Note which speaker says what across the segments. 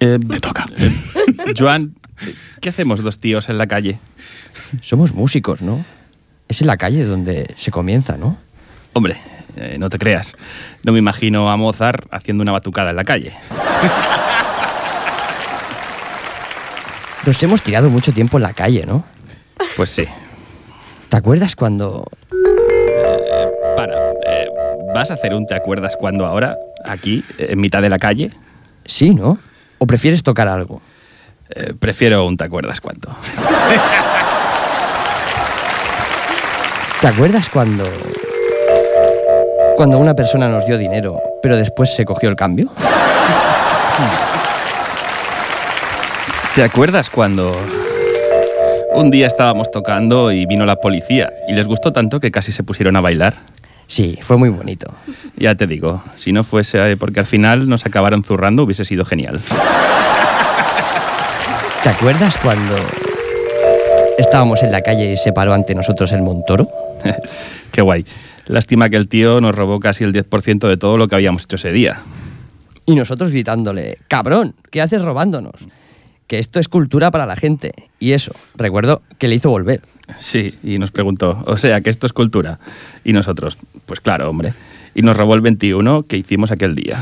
Speaker 1: Eh, Joan, ¿qué hacemos los tíos en la calle?
Speaker 2: Somos músicos, ¿no? Es en la calle donde se comienza, ¿no?
Speaker 1: Hombre, eh, no te creas. No me imagino a Mozart haciendo una batucada en la calle.
Speaker 2: Nos hemos tirado mucho tiempo en la calle, ¿no?
Speaker 1: Pues sí.
Speaker 2: ¿Te acuerdas cuando...
Speaker 1: Para. eh, ¿Vas a hacer un te acuerdas cuando ahora? Aquí, en mitad de la calle.
Speaker 2: Sí, ¿no? ¿O prefieres tocar algo?
Speaker 1: Eh, prefiero un te acuerdas cuando.
Speaker 2: ¿Te acuerdas cuando... Cuando una persona nos dio dinero, pero después se cogió el cambio?
Speaker 1: ¿Te acuerdas cuando un día estábamos tocando y vino la policía y les gustó tanto que casi se pusieron a bailar?
Speaker 2: Sí, fue muy bonito.
Speaker 1: Ya te digo, si no fuese eh, porque al final nos acabaron zurrando hubiese sido genial.
Speaker 2: ¿Te acuerdas cuando estábamos en la calle y se paró ante nosotros el Montoro?
Speaker 1: Qué guay. Lástima que el tío nos robó casi el 10% de todo lo que habíamos hecho ese día.
Speaker 2: Y nosotros gritándole, cabrón, ¿qué haces robándonos? Que esto es cultura para la gente. Y eso, recuerdo que le hizo volver.
Speaker 1: Sí, y nos preguntó, o sea, que esto es cultura. Y nosotros, pues claro, hombre. Y nos robó el 21 que hicimos aquel día.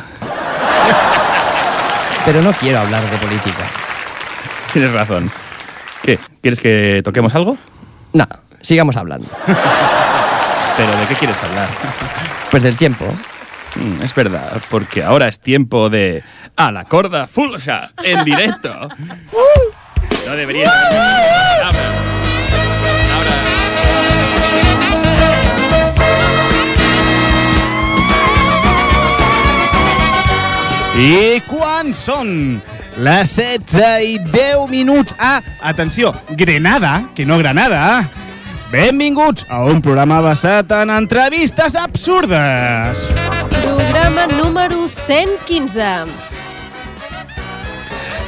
Speaker 2: Pero no quiero hablar de política.
Speaker 1: Tienes razón. ¿Qué? ¿Quieres que toquemos algo?
Speaker 2: No, sigamos hablando.
Speaker 1: ¿Pero de qué quieres hablar?
Speaker 2: Pues del tiempo.
Speaker 1: Mm, Es verdad, porque ahora es tiempo de a la corda fulsa en directo. Uh. No debería. Ahora. Uh. Ahora.
Speaker 3: I quan són les 16 i 10 minuts a, atenció, Grenada, que no Granada, benvinguts a un programa basat en entrevistes absurdes.
Speaker 4: Programa número 115.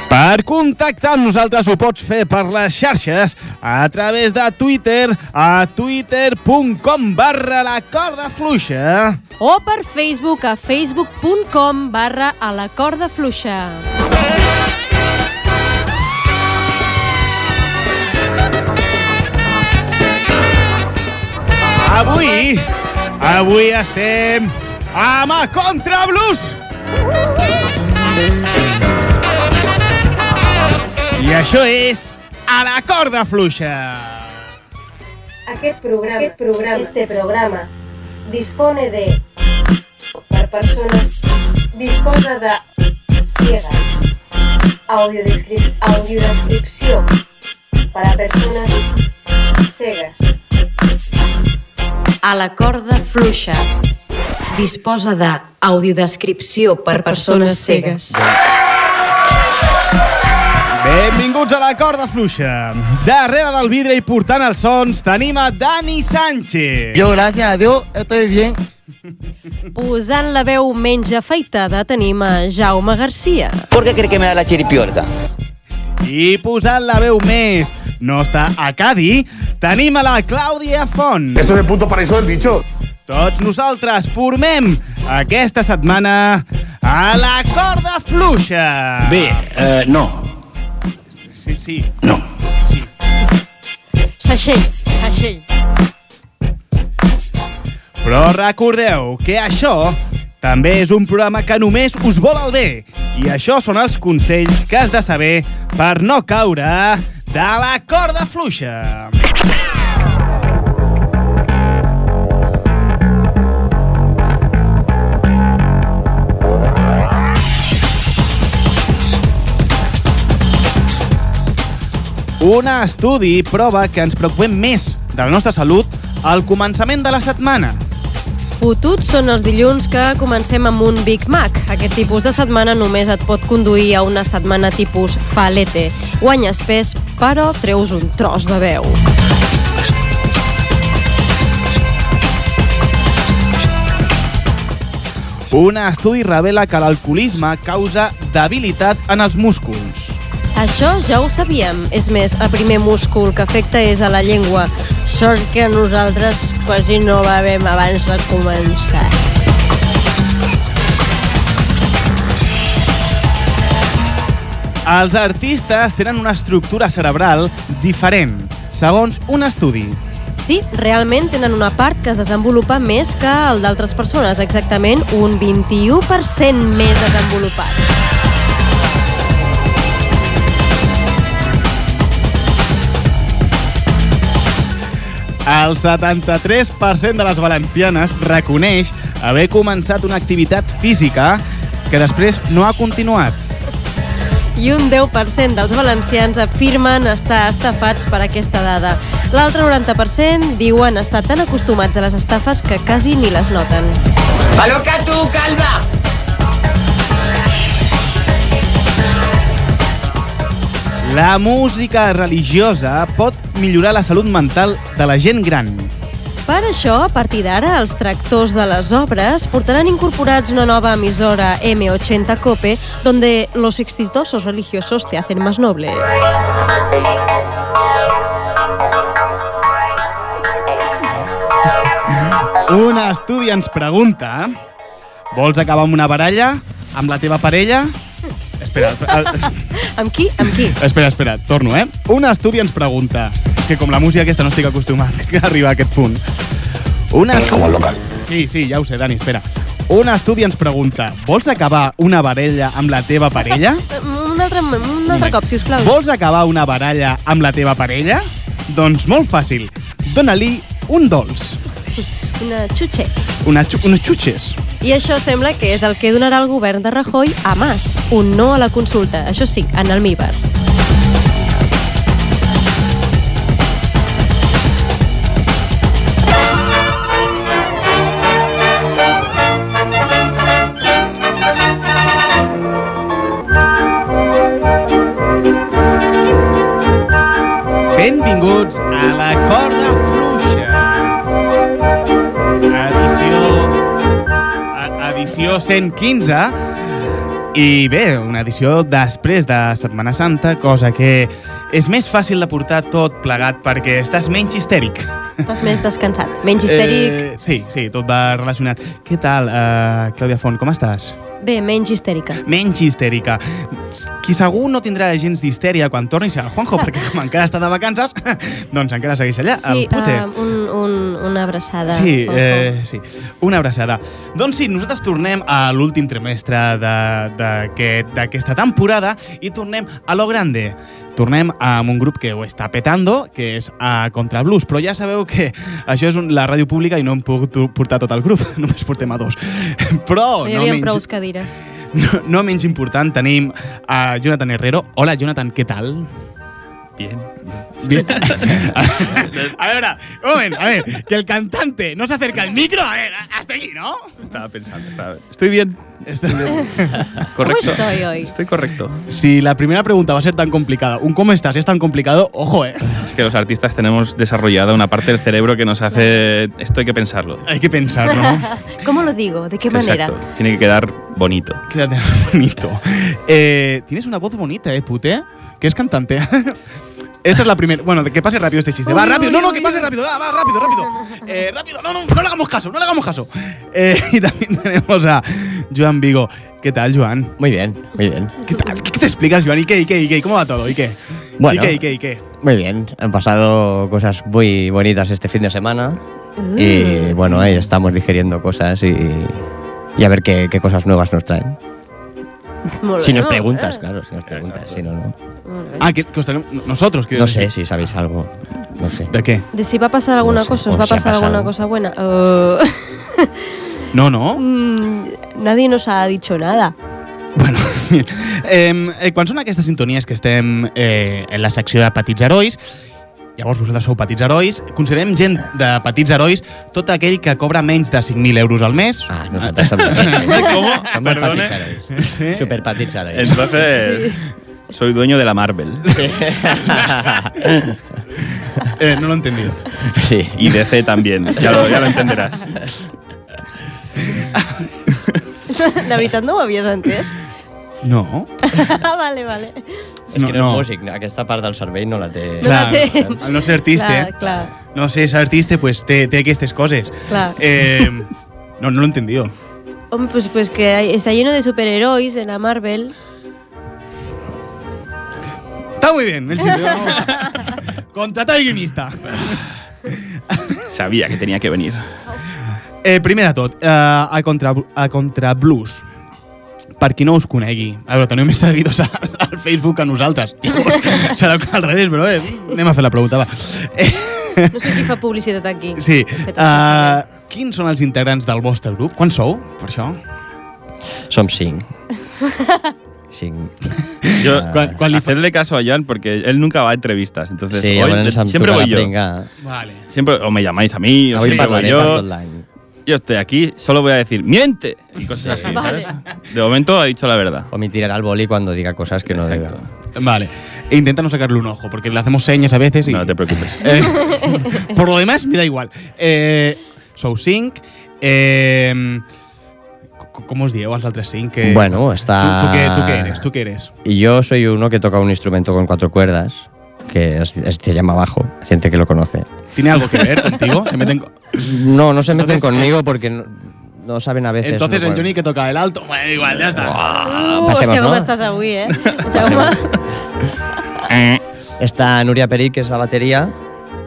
Speaker 3: Per contactar amb nosaltres ho pots fer per les xarxes a través de Twitter a twitter.com barra la corda fluixa.
Speaker 4: O per Facebook a facebook.com barra a la corda fluixa.
Speaker 3: Avui, avui estem amb a Contrablues! I això és a la corda fluixa.
Speaker 5: Aquest programa, aquest programa, este programa, dispone de... Per persones, disposa de... Ciega. Audiodescrip, audiodescripció. Para persones cegues.
Speaker 6: A la corda fluixa. Disposa de audiodescripció per persones cegues.
Speaker 3: Benvinguts a la corda fluixa. Darrere del vidre i portant els sons tenim a Dani Sánchez.
Speaker 7: Yo, gracias a Dios, estoy bien.
Speaker 4: Posant la veu menys afaitada tenim a Jaume Garcia.
Speaker 7: ¿Por qué crees que me da la chiripiorca?
Speaker 3: I posant la veu més, no està a Cadi, tenim a la Clàudia Font.
Speaker 8: Esto es el punto paraíso del bicho.
Speaker 3: Tots nosaltres formem aquesta setmana a la corda fluixa.
Speaker 9: Bé, eh, no,
Speaker 3: Sí, sí.
Speaker 9: no.
Speaker 4: Saixell, saixell.
Speaker 3: Però recordeu que això també és un programa que només us vol el bé. I això són els consells que has de saber per no caure de la corda fluixa. Un estudi prova que ens preocupem més de la nostra salut al començament de la setmana.
Speaker 4: Fotuts són els dilluns que comencem amb un Big Mac. Aquest tipus de setmana només et pot conduir a una setmana tipus falete. Guanyes pes, però treus un tros de veu.
Speaker 3: Un estudi revela que l'alcoholisme causa debilitat en els músculs.
Speaker 4: Això ja ho sabíem. És més, el primer múscul que afecta és a la llengua. Sort que nosaltres quasi no la vam abans de començar.
Speaker 3: Els artistes tenen una estructura cerebral diferent, segons un estudi.
Speaker 4: Sí, realment tenen una part que es desenvolupa més que el d'altres persones, exactament un 21% més desenvolupat.
Speaker 3: El 73% de les valencianes reconeix haver començat una activitat física que després no ha continuat.
Speaker 4: I un 10% dels valencians afirmen estar estafats per aquesta dada. L'altre 90% diuen estar tan acostumats a les estafes que quasi ni les noten.
Speaker 3: La música religiosa pot millorar la salut mental de la gent gran.
Speaker 4: Per això, a partir d'ara, els tractors de les obres portaran incorporats una nova emissora M80 Cope, donde los exitosos religiosos te hacen más noble.
Speaker 3: Un estudi ens pregunta Vols acabar amb una baralla? Amb la teva parella? Espera, el-
Speaker 4: Amb qui? Amb qui?
Speaker 3: espera, espera, torno, eh? Un estudi ens pregunta És que com la música aquesta no estic acostumat a arribar a aquest punt Un estudi... Com el local. Sí, sí, ja ho sé, Dani, espera. Un estudi ens pregunta Vols acabar una baralla amb la teva parella?
Speaker 4: Un altre, un altre cop, si us plau.
Speaker 3: Vols acabar una baralla amb la teva parella? Doncs molt fàcil. Dóna-li un dolç,
Speaker 4: Una xutxe.
Speaker 3: una xu unes xutxes.
Speaker 4: I això sembla que és el que donarà el govern de Rajoy a Mas, un no a la consulta, això sí, en almíbar.
Speaker 3: Benvinguts a la corda fluixa. Edició... a- Edició 115. I bé, una edició després de Setmana Santa, cosa que és més fàcil de portar tot plegat perquè estàs menys histèric.
Speaker 4: Estàs més descansat, menys histèric...
Speaker 3: Eh, sí, sí, tot va relacionat. Què tal, eh, Clàudia Font, com estàs?
Speaker 4: Bé, menys histèrica.
Speaker 3: menys histèrica. Qui segur no tindrà gens d'histèria quan tornis al Juanjo, perquè com encara està de vacances, doncs encara segueix allà, al
Speaker 4: Sí,
Speaker 3: pute.
Speaker 4: ah, un, un, una abraçada.
Speaker 3: Sí,
Speaker 4: Juanjo.
Speaker 3: eh, sí, una abraçada. Doncs sí, nosaltres tornem a l'últim trimestre de- d'aquest- d'aquesta temporada i tornem a lo grande. Tornem amb un grup que ho està petando, que és a Contrablues, però ja sabeu que això és un, la ràdio pública i no hem pogut portar tot el grup, només portem a dos. Però
Speaker 4: No hi
Speaker 3: no
Speaker 4: havia
Speaker 3: menys,
Speaker 4: prous cadires.
Speaker 3: no, no menys important, tenim a Jonathan Herrero. Hola, Jonathan, què tal?
Speaker 1: Bien.
Speaker 3: Bien. a veure, un moment, a ver, que el cantante no se acerca al micro, a ver, hasta aquí, ¿no?
Speaker 1: Estaba pensando, estaba... Estoy bien. Estoy bien. correcto.
Speaker 4: ¿Cómo estoy hoy?
Speaker 1: Estoy correcto.
Speaker 3: Si la primera pregunta va a ser tan complicada, un cómo estás es tan complicado, ojo, eh.
Speaker 1: Es que los artistas tenemos desarrollada una parte del cerebro que nos hace... Esto hay que pensarlo.
Speaker 3: Hay que pensar, ¿no?
Speaker 4: ¿Cómo lo digo? ¿De qué manera?
Speaker 1: Exacto. Tiene que quedar bonito.
Speaker 3: Quédate bonito. Eh, tienes una voz bonita, eh, pute, que es cantante. Esta es la primera. Bueno, que pase rápido este chiste. Va,
Speaker 4: Uy,
Speaker 3: rápido.
Speaker 4: uy,
Speaker 3: No, no,
Speaker 4: uy,
Speaker 3: que pase
Speaker 4: uy.
Speaker 3: rápido. Ah, Va, va, rápido, rápido. Eh, rápido. No, no, no le hagamos caso. No le hagamos caso. Eh, y también tenemos a Joan Vigo. ¿Qué tal, Joan?
Speaker 2: Muy bien, muy bien.
Speaker 3: ¿Qué tal? ¿Qué te explicas, Joan? ¿Y qué, y qué, y qué? ¿Cómo va todo? ¿Y qué?
Speaker 2: Bueno.
Speaker 3: ¿Y qué, y qué, y qué?
Speaker 2: Muy bien, han pasado cosas muy bonitas este fin de semana
Speaker 7: Mm.
Speaker 2: y bueno, ahí estamos digiriendo cosas y, y a ver qué, qué cosas nuevas nos traen.
Speaker 4: Molt
Speaker 2: Si
Speaker 4: bé,
Speaker 2: nos
Speaker 4: molt
Speaker 2: preguntas,
Speaker 7: eh.
Speaker 4: bé.
Speaker 2: claro, si nos preguntas,
Speaker 1: Exacto.
Speaker 2: si no, no.
Speaker 4: Molt bé.
Speaker 3: Ah, que, que os tenemos- nosotros, quiero
Speaker 2: No sé si sabéis algo, no sé.
Speaker 3: ¿De qué?
Speaker 4: De si va a pasar alguna
Speaker 2: No sé,
Speaker 4: cosa,
Speaker 2: o
Speaker 4: os va a
Speaker 2: si ha
Speaker 4: pasar
Speaker 2: pasado.
Speaker 4: alguna cosa buena. Eh,
Speaker 3: No, no.
Speaker 4: mm, nadie nos ha dicho nada.
Speaker 3: Bueno, bien. Eh, eh, quan són aquestes sintonies que estem eh, en la secció de petits herois, llavors vosaltres sou petits herois, considerem gent de petits herois tot aquell que cobra menys de 5.000 euros al mes.
Speaker 2: Ah, nosotros somos ¿Cómo? Somos
Speaker 1: Perdone.
Speaker 2: patizaros. Super patizaros.
Speaker 1: Entonces, soy dueño de la Marvel.
Speaker 3: Eh, no l'he entendido.
Speaker 2: Sí.
Speaker 1: Y DC también. Ya lo, ya lo entenderás.
Speaker 4: La veritat no ho havies entès?
Speaker 3: No.
Speaker 4: Ah, vale, vale.
Speaker 2: És que no,
Speaker 3: no.
Speaker 2: és músic, aquesta part del cervell no la té...
Speaker 4: No. la té.
Speaker 3: al no ser artista,
Speaker 4: Clar, clar,
Speaker 3: no ser artista, pues té, té aquestes coses.
Speaker 4: clar.
Speaker 3: Eh, no, no l'he entendido.
Speaker 4: Hombre, pues, pues que hay- está lleno de superhéroes en la Marvel.
Speaker 3: Está muy bien el chiste. ¿no? Contratar al guionista.
Speaker 1: Sabía que tenía que venir.
Speaker 3: Eh, primer de tot, eh, a, contra, a Contrablues. Per qui no us conegui. A veure, teniu més seguidors a- al Facebook que nosaltres. Llavors, Serà al revés, però eh, anem a fer la pregunta, va. Eh,
Speaker 4: No sé qui fa publicitat aquí.
Speaker 3: sí.
Speaker 4: Fet
Speaker 3: Eh, quins són els integrants del vostre grup? Quants sou, per això?
Speaker 2: Som cinc. cinc.
Speaker 1: Yo, cuando Hacedle caso a Joan porque él nunca va a entrevistas. Entonces,
Speaker 2: Sí,
Speaker 1: hoy
Speaker 2: llavors em
Speaker 1: siempre
Speaker 2: tocarà
Speaker 1: voy yo.
Speaker 2: pringar.
Speaker 3: Vale.
Speaker 1: Siempre, o me llamáis a mí, o
Speaker 2: Avui
Speaker 1: siempre voy
Speaker 2: parlaré per tot
Speaker 1: yo.
Speaker 2: l'any.
Speaker 1: Yo estoy aquí, solo voy a decir, ¡miente! Y cosas así,
Speaker 4: Vale.
Speaker 1: ¿sabes? De momento ha dicho la verdad.
Speaker 2: O me tirará el boli cuando diga cosas que no
Speaker 1: Exacto.
Speaker 2: deba.
Speaker 3: Vale. E intenta no sacarle un ojo, porque le hacemos señas a veces y...
Speaker 1: No te preocupes.
Speaker 3: Eh, por lo demás, me da igual. Eh, sou cinc. Eh, co- com us dieu els altres cinc? Que...
Speaker 2: Bueno,
Speaker 3: Tu,
Speaker 2: está...
Speaker 3: tu, què, tu què eres? Tu què eres?
Speaker 2: Y yo soy uno que toca un instrumento con cuatro cuerdas, que es- es- se llama bajo, gente que lo conoce.
Speaker 3: ¿Tiene algo que ver contigo? Se meten co-
Speaker 2: No, no se meten
Speaker 3: Entonces,
Speaker 1: eh,
Speaker 2: conmigo porque no, no saben a veces.
Speaker 3: Entonces
Speaker 2: no
Speaker 3: el
Speaker 2: pueden.
Speaker 3: Johnny que toca el alto. Bueno, igual, ya está.
Speaker 4: Uh,
Speaker 2: passem,
Speaker 4: hòstia, com
Speaker 2: Ah, no?
Speaker 4: estàs avui, eh? Jaume.
Speaker 2: Está Nuria Peric, que es la batería.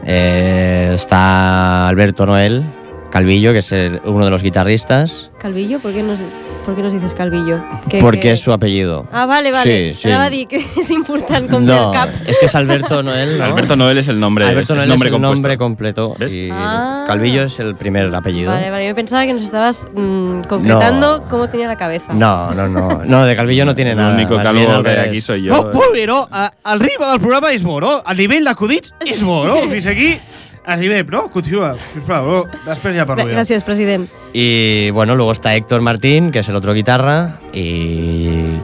Speaker 2: eh, está Alberto Noel Calvillo, que es el- uno de los guitarristas,
Speaker 4: Calvillo? ¿Por qué nos, por qué nos dices Calvillo? Que-
Speaker 2: porque
Speaker 4: que-
Speaker 2: es su apellido.
Speaker 4: Ah, vale, vale.
Speaker 2: Sí, sí.
Speaker 4: Anava a dir que és important com
Speaker 2: no,
Speaker 4: el cap.
Speaker 2: es que es Alberto Noel. ¿no?
Speaker 1: Alberto Noel es el nombre,
Speaker 2: Alberto
Speaker 1: es
Speaker 2: Noel
Speaker 1: nombre
Speaker 2: es el
Speaker 1: compuesto.
Speaker 2: nombre completo.
Speaker 1: ¿Ves?
Speaker 2: Y
Speaker 4: Ah.
Speaker 2: Calvillo es el primer apellido.
Speaker 4: Vale, vale. Yo pensaba que nos estabas mm, concretando
Speaker 2: No.
Speaker 4: cómo tenía la cabeza.
Speaker 2: No, no, no. No, de Calvillo no tiene
Speaker 1: el
Speaker 2: nada.
Speaker 1: único
Speaker 2: más bien
Speaker 1: calvo
Speaker 2: al
Speaker 1: que hay
Speaker 2: revés. ¡Oh,
Speaker 1: aquí soy yo.
Speaker 3: No, Bolero, al ritme del programa és moro. El nivell d'acudits és moro. Fins aquí es nivell, no? Continua, sisplau. No? Després ja parlo jo.
Speaker 4: Gra- Gracias, president.
Speaker 2: Y bueno, luego está Héctor Martín, que es el otro guitarra, y,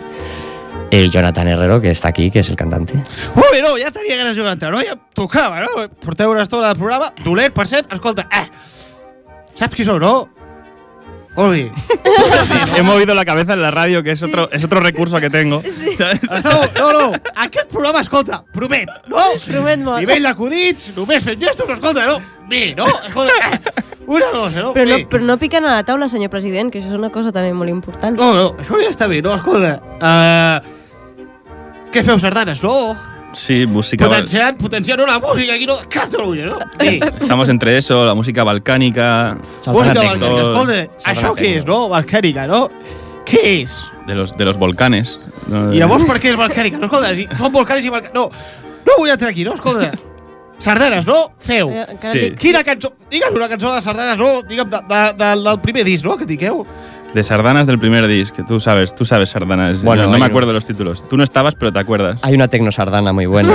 Speaker 2: y Jonathan Herrero, que está aquí, que es el cantante.
Speaker 3: Bolero, ja tenia ganes de entrar, no? Ja tocava, no? Porteu una estona del programa. Dolent, per cert, escolta. Eh, saps qui sou, no? Olvi.
Speaker 1: He movido la cabeza en la radio, que es otro, es otro recurso que tengo. ¿sabes?
Speaker 3: Estau, no, no, aquest programa, escolta, promet, no?
Speaker 4: Promet molt.
Speaker 3: Nivell d'acudits, només fent gestos, escolta, no? Bé, no? Escolta, eh, una, dos, no?
Speaker 4: Però no,
Speaker 3: Bé.
Speaker 4: però no piquen a la taula, senyor president, que això és una cosa també molt important.
Speaker 10: Oh,
Speaker 3: No, no, això ja està bé, no? Escolta, uh, què feu, sardanes, no?
Speaker 1: Sí, música.
Speaker 3: Potenciant, potenciant no, la música aquí, no? Catalunya, no? Bé.
Speaker 1: Estamos entre eso, la música balcánica,
Speaker 3: Música
Speaker 1: Saltan
Speaker 3: balcànica,
Speaker 1: tecnos.
Speaker 3: escolta,
Speaker 2: Saltan
Speaker 3: això què
Speaker 2: tecnos.
Speaker 3: és, no? Balcànica, no? Què és?
Speaker 1: de los, de los volcanes. ¿no?
Speaker 3: I llavors per què és balcànica? No, escolta, si són volcànics i balcànics... No, no vull entrar aquí, no? Escolta, sardanes, no? Feu.
Speaker 4: Eh, encara
Speaker 1: Sí.
Speaker 4: dic-
Speaker 3: Quina cançó? Digue'm una cançó de sardanes, no? Digue'm de, de, de, del primer disc, no? Que digueu.
Speaker 1: De sardanas del primer disc, que tú sabes, tú sabes sardanas.
Speaker 2: Bueno,
Speaker 1: Bueno, no,
Speaker 2: hay
Speaker 1: me
Speaker 2: un-
Speaker 1: acuerdo los títulos. Tú no estabas, pero te acuerdas.
Speaker 2: Hay una tecnosardana muy buena.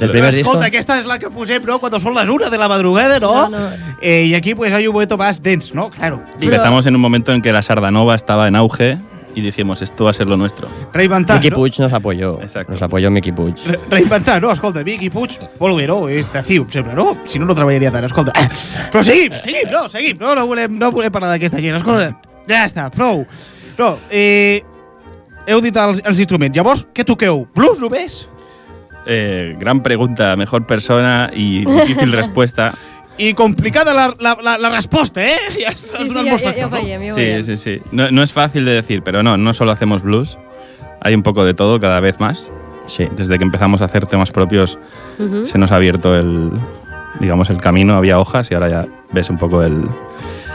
Speaker 2: Del primer disco.
Speaker 3: Escolta, aquesta és la que posem, no? Quan són les 1 de la madrugada, no?
Speaker 4: No, no.
Speaker 3: Eh, I aquí, pues, hay un momento más dense, ¿no? Claro.
Speaker 1: Empezamos en un momento en que la sardanova estaba en auge y dijimos, esto va a ser lo nuestro.
Speaker 3: Reinventar,
Speaker 2: Miki
Speaker 3: no?
Speaker 2: Puig nos apoyó.
Speaker 1: Exacto.
Speaker 2: Nos apoyó Miki Puig.
Speaker 3: Re- Reinventar, no? Escolta, Vic i Puig, Polgueró, és de CIUP, sempre, no? Si no, no treballaria tant, escolta. Eh, Però seguim, seguim, no, seguim. No, no volem, no volem parlar d'aquesta gent, escolta. Ja està, prou. No, eh, heu dit els, els instruments. Llavors, què toqueu? Blues només?
Speaker 1: Eh, gran pregunta, mejor persona y difícil respuesta.
Speaker 3: I complicada la, la, la, la resposta, eh? Ja has
Speaker 4: Sí, sí,
Speaker 3: donat
Speaker 4: ja,
Speaker 3: molts
Speaker 4: ja, ja ho
Speaker 3: factors, no?
Speaker 4: veiem, ja ho
Speaker 1: Sí,
Speaker 4: veiem.
Speaker 1: sí, sí. No, no es fácil de decir, pero no, no solo hacemos blues. Hay un poco de todo cada vez más.
Speaker 2: Sí.
Speaker 1: Desde que empezamos a hacer temas propios
Speaker 4: Ujú.
Speaker 1: se nos ha abierto el, digamos, el camino. Había hojas y ahora ya ves un poco el,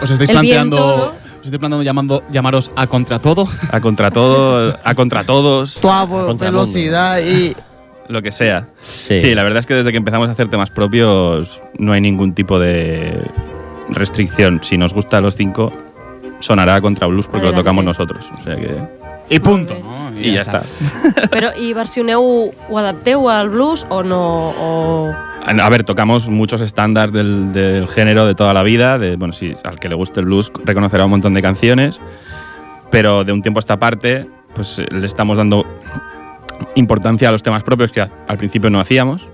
Speaker 3: Os estáis
Speaker 4: El planteando- viento,
Speaker 3: Os estáis planteando llamando, llamaros a contra todo.
Speaker 1: a contra todo, a contra todos,
Speaker 7: Tuavo,
Speaker 2: Contramundo.
Speaker 7: velocidad y.
Speaker 1: lo que sea.
Speaker 2: Sí.
Speaker 1: Sí. la verdad es que desde que empezamos a hacer temas propios no hay ningún tipo de restricción. Si nos gusta a los cinco, sonará a contra blues porque
Speaker 4: Adelante.
Speaker 1: lo tocamos nosotros. O sea que,
Speaker 3: I punto, no?
Speaker 1: y ya está.
Speaker 4: Però i versioneu, ho adapteu al blues o no? O...
Speaker 1: A ver, tocamos muchos estándares del, del género de toda la vida. De, bueno, sí, al que le guste el blues reconocerá un montón de canciones, pero de un tiempo a esta parte, pues eh, le estamos dando importancia a los temas propios que a- al principio no hacíamos.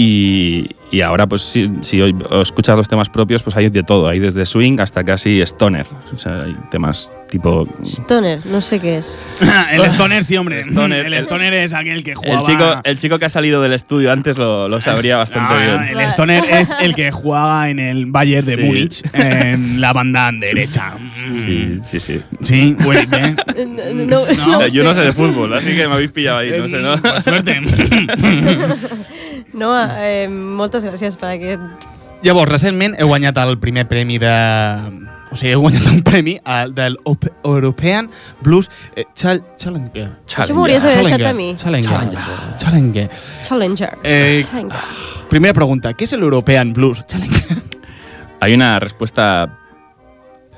Speaker 1: Y, y ahora, pues si, si hoy escuchas los temas propios, pues hay de todo. Hay desde swing hasta casi stoner. O sea, hay temas Tipo.
Speaker 4: Stoner, no sé qué es.
Speaker 3: el Stoner, sí, hombre.
Speaker 1: El stoner.
Speaker 3: el Stoner es aquel que jugaba.
Speaker 1: El chico, el chico que ha salido del estudio antes lo, lo sabría bastante
Speaker 3: No, no,
Speaker 1: bien.
Speaker 3: El Stoner es el que jugaba en el Bayern de
Speaker 1: Sí.
Speaker 3: Múnich, en la banda derecha. Mm.
Speaker 1: Sí, sí, sí.
Speaker 3: Sí, güey, ¿eh?
Speaker 4: No,
Speaker 3: No,
Speaker 1: Yo no sé de fútbol, así que me habéis pillado ahí, no sé, ¿no?
Speaker 3: Pues Suerte.
Speaker 4: No, eh, moltes gràcies per aquest...
Speaker 3: Llavors, recentment he guanyat el primer premi de... O sigui, he guanyat un premi al, del Op- European Blues eh, ah, Chal- Challenger.
Speaker 4: Això m'ho hauries d'haver deixat a mi.
Speaker 3: Challenger. Challenger. Challenger.
Speaker 4: Challenger.
Speaker 3: Eh,
Speaker 4: Challenger.
Speaker 3: Primera pregunta, ¿qué es el European Blues Challenger?
Speaker 1: Hay una respuesta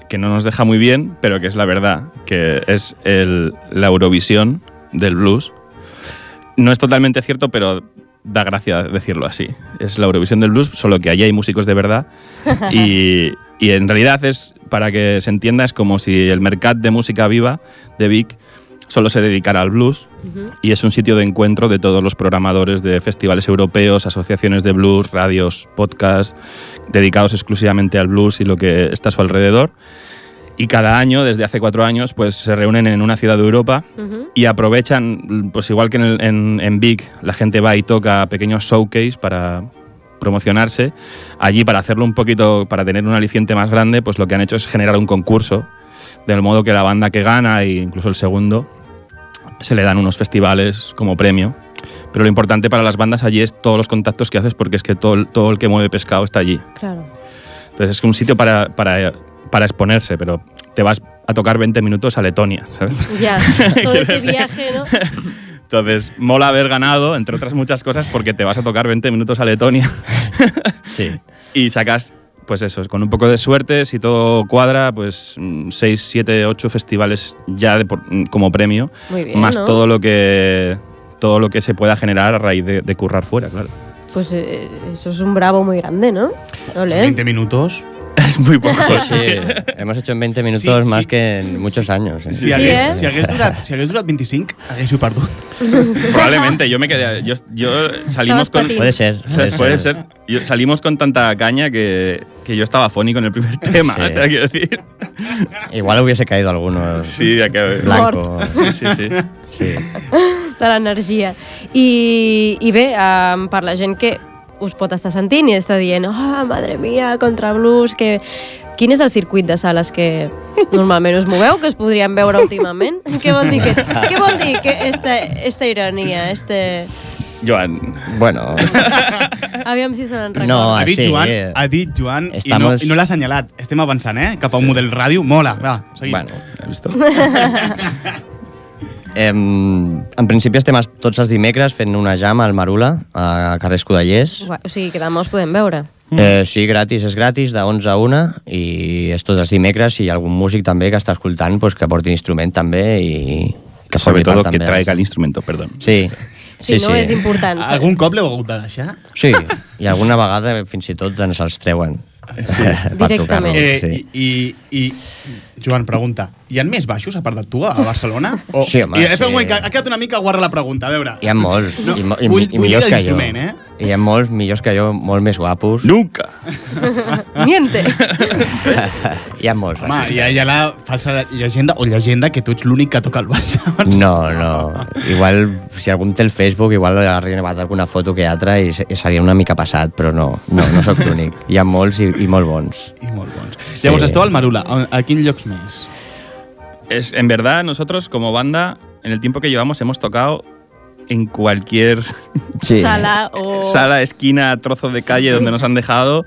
Speaker 1: que no nos deja muy bien, pero que es la verdad, que es el- la Eurovisión del blues. No es totalmente cierto, pero da gracia decirlo así. Es la Eurovisión del blues, solo que allí hay músicos de verdad. Y, y en realidad es, para que se entienda, es como si el mercado de música viva de Vic solo se dedicara al blues y es un sitio de encuentro de todos los programadores de festivales europeos, asociaciones de blues, radios, podcasts, dedicados exclusivamente al blues y lo que está a su alrededor. Y cada año, desde hace cuatro años, pues se reúnen en una ciudad de Europa
Speaker 4: Ujú.
Speaker 1: y aprovechan, pues igual que en, el- en, en Vic, la gente va y toca pequeños showcase para promocionarse. Allí, para hacerlo un poquito, para tener un aliciente más grande, pues lo que han hecho es generar un concurso, del modo que la banda que gana e incluso el segundo se le dan unos festivales como premio. Pero lo importante para las bandas allí es todos los contactos que haces, porque es que todo, el- todo el que mueve pescado está allí.
Speaker 4: Claro.
Speaker 1: Entonces es un sitio para, para, para exponerse, pero te vas a tocar 20 minutos a Letonia, ¿sabes?
Speaker 4: Pues Ya, todo ese viaje, ¿no?
Speaker 1: Entonces mola haber ganado, entre otras muchas cosas, porque te vas a tocar 20 minutos a Letonia
Speaker 2: Sí.
Speaker 1: y sacas, pues eso, con un poco de suerte, si todo cuadra, pues 6, 7, 8 festivales ya de por- mm, como premio,
Speaker 4: Muy bien,
Speaker 1: más
Speaker 4: ¿no?
Speaker 1: todo lo que todo lo que se pueda generar a raíz de, de currar fuera, claro.
Speaker 4: Pues eh, eso es un bravo muy grande, ¿no? Ole.
Speaker 3: 20 minutos.
Speaker 1: Es muy poco, sí.
Speaker 2: Sí, hemos hecho en 20 minutos
Speaker 3: Sí,
Speaker 2: más
Speaker 3: sí.
Speaker 2: que en muchos
Speaker 3: Sí.
Speaker 2: años. eh.
Speaker 3: Si,
Speaker 4: Sí,
Speaker 3: hagués,
Speaker 4: eh?
Speaker 3: si, hagués durat, si hagués durat 25, haguéssiu perdut.
Speaker 1: Probablemente, yo me quedé. Yo, yo salimos
Speaker 4: Estabas
Speaker 1: con.
Speaker 4: patín.
Speaker 2: Puede ser.
Speaker 1: O sea, puede ser. Yo- salimos con tanta caña que, que yo estaba fónico en el primer tema.
Speaker 2: Sí.
Speaker 1: O sea, quiero decir.
Speaker 2: Igual hubiese caído alguno
Speaker 1: Sí, ya que.
Speaker 2: blanco.
Speaker 1: Sí, sí, sí.
Speaker 2: Sí.
Speaker 4: de l'energia. I, I bé, um, per la gent que us pot estar sentint i està dient oh, madre mía, contra blues, que... Quin és el circuit de sales que normalment us moveu, que us podríem veure últimament? què vol dir que, què vol dir que esta, esta ironia, este...
Speaker 1: Joan.
Speaker 2: Bueno,
Speaker 4: Aviam si se n'en
Speaker 2: No,
Speaker 4: recorda.
Speaker 3: Ha dit
Speaker 2: sí,
Speaker 3: Joan,
Speaker 2: eh.
Speaker 3: ha dit Joan
Speaker 2: Estamos-
Speaker 3: i no, i no l'ha assenyalat. Estem avançant, eh? Cap a un model ràdio. Mola. Va, seguim.
Speaker 2: bueno.
Speaker 1: ¿Has visto?
Speaker 2: Em, en principi estem es- tots els dimecres fent una jam al Marula, a carrer Escudellers.
Speaker 4: Ua, O sigui, que demà us podem veure.
Speaker 2: Eh, sí, gratis, és gratis, de 11 a 1, i és tots els dimecres, si hi ha algun músic també que està escoltant, doncs que porti instrument també i que
Speaker 1: Sobre
Speaker 2: formi part
Speaker 1: todo que
Speaker 2: també.
Speaker 1: traiga el instrumento, perdón.
Speaker 2: Sí,
Speaker 4: Si
Speaker 2: sí,
Speaker 4: no,
Speaker 2: sí.
Speaker 4: és important. saps?
Speaker 3: Algun cop l'heu hagut de deixar?
Speaker 2: Sí, i alguna vegada fins i tot ens els treuen. Sí.
Speaker 4: Directament.
Speaker 3: Eh,
Speaker 2: sí.
Speaker 3: i, i, I, Joan, pregunta, hi ha més baixos a part de tu a Barcelona? O,
Speaker 2: Sí, home,
Speaker 3: I, espera un
Speaker 2: sí.
Speaker 3: moment, que ha quedat una mica guarra la pregunta, a veure.
Speaker 2: Hi ha molts,
Speaker 3: No,
Speaker 2: no, i, mo- i,
Speaker 3: vull-
Speaker 2: i
Speaker 3: vull
Speaker 2: millors
Speaker 3: dir
Speaker 2: que jo.
Speaker 3: d'instrument, eh?
Speaker 2: Hi ha molts millors que jo, molt més guapos.
Speaker 1: ¡Nunca!
Speaker 4: Niente.
Speaker 2: Hi ha molts.
Speaker 3: Home,
Speaker 2: racistes.
Speaker 3: hi ha, hi ha la falsa llegenda o llegenda que tu ets l'únic que toca el baix a Barcelona.
Speaker 2: No, no. Igual, si algú em té el Facebook, igual ha arribat alguna foto que altra i se- seria una mica passat, però no, no, no sóc l'únic. Hi ha molts i, i molt bons.
Speaker 3: I molt bons. Llavors, esteu al Marula. A, a quins llocs més?
Speaker 1: Es, en verdad, nosotros como banda, en el tiempo que llevamos, hemos tocado en cualquier
Speaker 4: Sala o...
Speaker 1: sala, esquina, trozo de calle donde nos han dejado.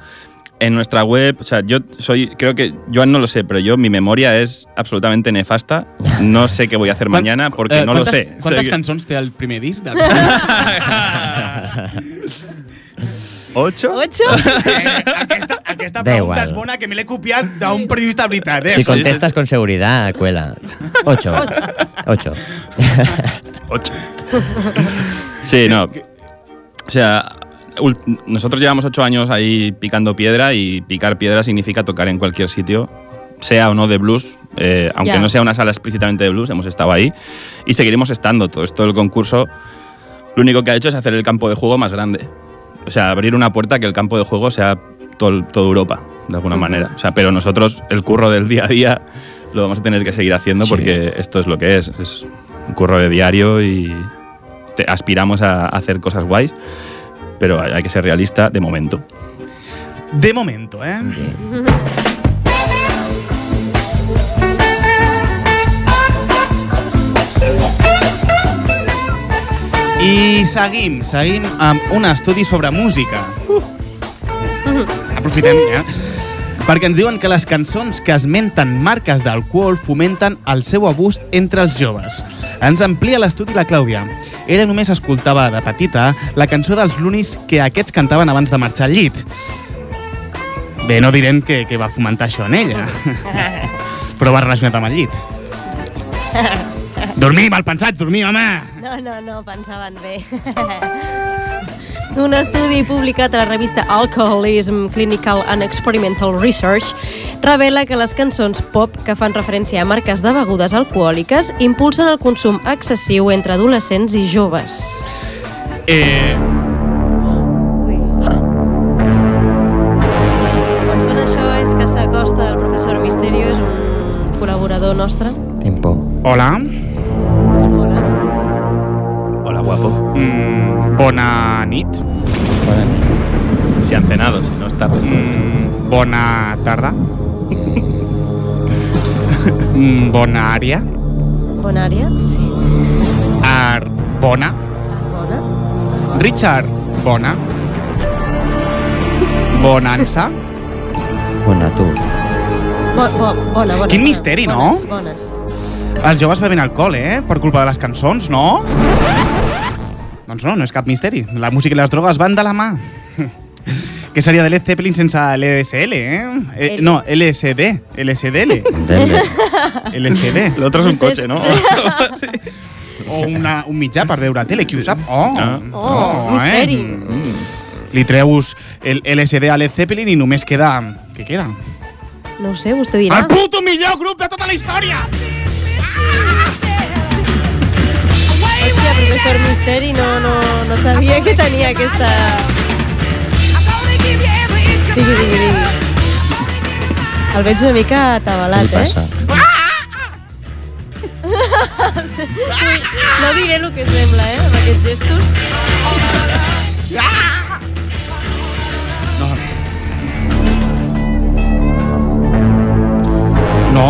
Speaker 1: En nuestra web, o sea, yo soy, creo que, Joan no lo sé, pero yo, mi memoria es absolutamente nefasta. No sé qué voy a hacer mañana porque
Speaker 3: Eh,
Speaker 1: no lo
Speaker 3: quantes-
Speaker 1: sé. O sea,
Speaker 3: Quantes
Speaker 1: que-
Speaker 3: cançons té el primer disc? De...
Speaker 1: ¿Ocho?
Speaker 4: Ocho?
Speaker 3: aquesta, aquesta
Speaker 2: Da
Speaker 3: pregunta
Speaker 2: igual.
Speaker 3: és bona, que me l'he copiat d'un periodista veritat, eh?
Speaker 2: Si contestas con seguridad, cuela. Ocho. Ocho.
Speaker 1: Ocho. Sí, no. O sea, ul- nosotros llevamos ocho años ahí picando piedra y picar piedra significa tocar en cualquier sitio, sea o no de blues, eh, aunque
Speaker 4: Ya.
Speaker 1: no sea una sala explícitamente de blues, hemos estado ahí y seguiremos estando. Todo esto del concurso lo único que ha hecho es hacer el campo de juego más grande. O sea, abrir una puerta que el campo de juego sea tol- toda Europa, de alguna manera. O sea, pero nosotros, el curro del día a día, lo vamos a tener que seguir haciendo
Speaker 2: Sí.
Speaker 1: porque esto es lo que es. Es un curro de diario y te- aspiramos a hacer cosas guays, pero hay hay que ser realista de momento.
Speaker 10: De momento, ¿eh? I seguim, seguim amb un estudi sobre música. Aprofitem, ja. Perquè ens diuen que les cançons que esmenten marques d'alcohol fomenten el seu abús entre els joves. Ens amplia l'estudi la Clàudia. Ella només escoltava de petita la cançó dels lunis que aquests cantaven abans de marxar al llit. Bé, no direm que, que va fomentar això en ella, però va relacionat amb el llit. Dormir, mal pensat, dormir, home!
Speaker 4: No, no, no, pensaven bé. Un estudi publicat a la revista Alcoholism Clinical and Experimental Research revela que les cançons pop que fan referència a marques de begudes alcohòliques impulsen el consum excessiu entre adolescents i joves.
Speaker 10: Eh,
Speaker 4: Ui. Quan sona això és que s'acosta el professor Misterio, és un col·laborador nostre.
Speaker 2: Tiempo.
Speaker 10: hola,
Speaker 4: Hola.
Speaker 1: Hola, guapo.
Speaker 10: mm, bona nit,
Speaker 1: Si han cenado, si no está.
Speaker 10: mm, bona tarda, mm, bona àrea,
Speaker 4: Bona àrea? Sí.
Speaker 10: ar, bona,
Speaker 4: Bona.
Speaker 10: Richard, bona, bonança,
Speaker 2: Bona tu.
Speaker 4: Bo, bo, bona, bona.
Speaker 10: Quin misteri, no?
Speaker 4: bones, Bones.
Speaker 10: Els joves bevent alcohol, eh? Per culpa de les cançons, no? doncs no, no és cap misteri. La música i les drogues van de la mà. Què seria de Led Zeppelin sense l'ESL, eh? eh?
Speaker 4: L.
Speaker 10: No, LSD, LSDL,
Speaker 2: Entendre.
Speaker 10: LSD.
Speaker 1: Lo otro es un coche, ¿no?
Speaker 10: O una, un mitjà per veure tele, qui ho sap? Oh,
Speaker 1: Ah.
Speaker 4: Oh, misteri.
Speaker 10: Li treus el LSD a Led Zeppelin i només queda... Què queda?
Speaker 4: No ho sé, vostè dirà.
Speaker 10: El puto millor grup de tota la història!
Speaker 4: Hòstia, professor Misteri, no, no, no sabia que tenia aquesta... Digui, digui, digui. El veig una mica
Speaker 2: Què li
Speaker 4: atabalat, eh?
Speaker 2: passa?
Speaker 4: No diré el que sembla, eh, amb aquests gestos.
Speaker 10: No.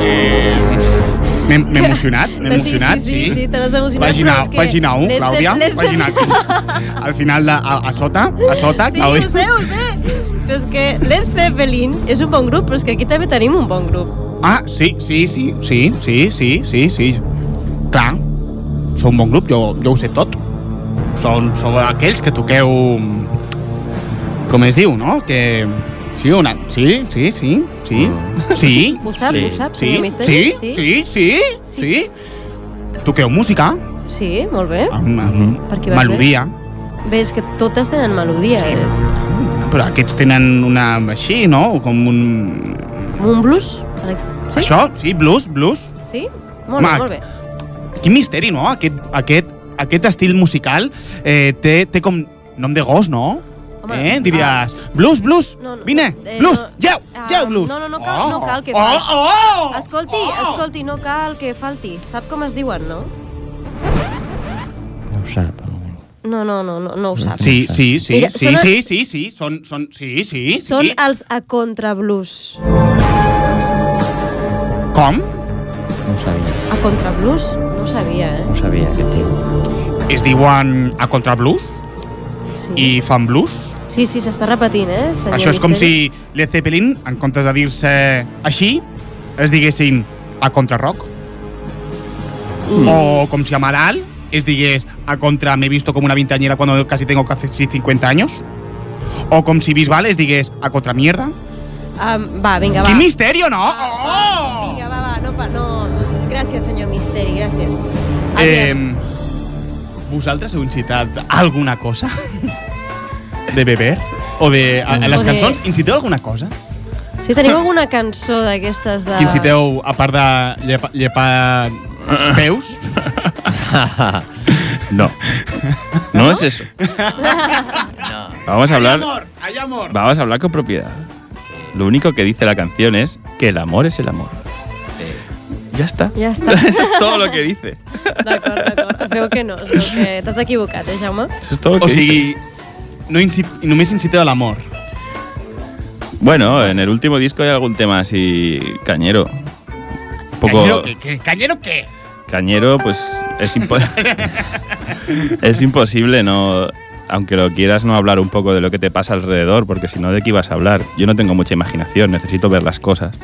Speaker 10: Eh, M'he m'he emocionat, m'he
Speaker 4: Sí,
Speaker 10: emocionat,
Speaker 4: sí. Sí, sí, te l'has emocionat,
Speaker 10: Pàgina,
Speaker 4: però és que...
Speaker 10: pàgina 1,
Speaker 4: l'he-
Speaker 10: Clàudia,
Speaker 4: l'he-
Speaker 10: pàgina Al final, de, a, a sota, a sota,
Speaker 4: Sí,
Speaker 10: Clàudia.
Speaker 4: ho sé, ho sé. Però és que Led Zeppelin és un bon grup, però és que aquí també tenim un bon grup.
Speaker 10: Ah, sí, sí, sí, sí, sí, sí, sí, sí. Clar, sou un bon grup, jo, jo ho sé tot. Són, sou aquells que toqueu... Com es diu, no? Que... Sí, una... sí, sí, sí, sí, sí,
Speaker 4: Ho sap,
Speaker 2: Sí.
Speaker 4: ho sap, senyor
Speaker 10: sí,
Speaker 4: Misteri?
Speaker 10: sí, sí, sí, sí. Toqueu música,
Speaker 4: Sí, molt bé.
Speaker 10: amb, amb
Speaker 4: Per qui vas bé?
Speaker 10: Ah, melodia,
Speaker 4: Bé, és que totes tenen melodia, eh?
Speaker 10: però aquests tenen una així, no? Com un...
Speaker 4: Com un blues, per exemple. Sí?
Speaker 10: Això, sí, blues, blues.
Speaker 4: Sí? Molt bé,
Speaker 10: Mac.
Speaker 4: molt bé.
Speaker 10: Quin misteri, no? Aquest, aquest, aquest estil musical eh, té, té com nom de gos, no?
Speaker 4: Home, ah.
Speaker 10: eh? Diries, blues, blues,
Speaker 4: No, no,
Speaker 10: vine,
Speaker 4: eh,
Speaker 10: blues,
Speaker 4: no,
Speaker 10: lleu,
Speaker 4: ah,
Speaker 10: lleu, blues.
Speaker 4: no, no, no cal- no cal que
Speaker 10: oh,
Speaker 4: faci.
Speaker 10: oh, oh,
Speaker 4: Escolti,
Speaker 10: oh.
Speaker 4: escolti, no cal que falti. Sap com es diuen, no?
Speaker 2: No ho sap.
Speaker 4: No, no, no, no, no ho sap.
Speaker 10: Sí, sí, sí,
Speaker 4: Mira,
Speaker 10: sí,
Speaker 4: són-
Speaker 10: sí, sí, sí, són, són, sí, sí,
Speaker 4: Són
Speaker 10: sí.
Speaker 4: els a contrablues.
Speaker 10: Com?
Speaker 2: No ho sabia.
Speaker 4: A contrablues? No ho sabia, eh?
Speaker 2: No ho sabia, aquest tio.
Speaker 10: Es diuen a contrablues
Speaker 4: Sí,
Speaker 10: i fan blues.
Speaker 4: sí, sí s'està repetint, eh, senyor
Speaker 10: Això és com
Speaker 4: Misteri?
Speaker 10: si Led Zeppelin, en comptes de dir-se així, es diguessin a contrarroc.
Speaker 4: Mm.
Speaker 10: O com si Amaral es digués a contra me he visto como una vintañera cuando casi tengo casi 50 años. O com si Bisbal es digués a contra mierda.
Speaker 4: Ah, va, vinga, va.
Speaker 10: Quin misterio, no?
Speaker 4: Va,
Speaker 10: Oh!
Speaker 4: Vinga, va, va, no, pa, no. Gràcies, senyor Misteri, gràcies.
Speaker 10: Eh,
Speaker 4: Aviam.
Speaker 10: vosaltres heu incitat alguna cosa? De beber? O de... A, a les
Speaker 4: O de-
Speaker 10: cançons, inciteu alguna cosa?
Speaker 4: Si teniu alguna cançó d'aquestes de...
Speaker 10: Que inciteu, a part de llepa, llepar peus?
Speaker 1: No. No es eso. Vamos a
Speaker 10: Hay
Speaker 1: hablar.
Speaker 10: amor, hay amor.
Speaker 1: Vamos a hablar con propiedad. Lo único que dice la canción es que el amor es el amor. Ya está.
Speaker 4: Ja està.
Speaker 1: Eso es todo lo que dice.
Speaker 4: D'acord, d'acord. Es veu que no, es veu que t'has equivocat, eh, Jaume?
Speaker 1: Eso es todo lo que
Speaker 3: O
Speaker 1: dice.
Speaker 3: sigui, no incit només inciteu a l'amor.
Speaker 1: Bueno, en el último disco hay algún tema así cañero. Un poco
Speaker 3: Cañero, ¿qué, qué? ¿Cañero qué?
Speaker 1: cañero, pues es, impo- es imposible no... Aunque lo quieras, no hablar un poco de lo que te pasa alrededor, porque si no, ¿de qué ibas a hablar? Yo no tengo mucha imaginación, necesito ver las cosas.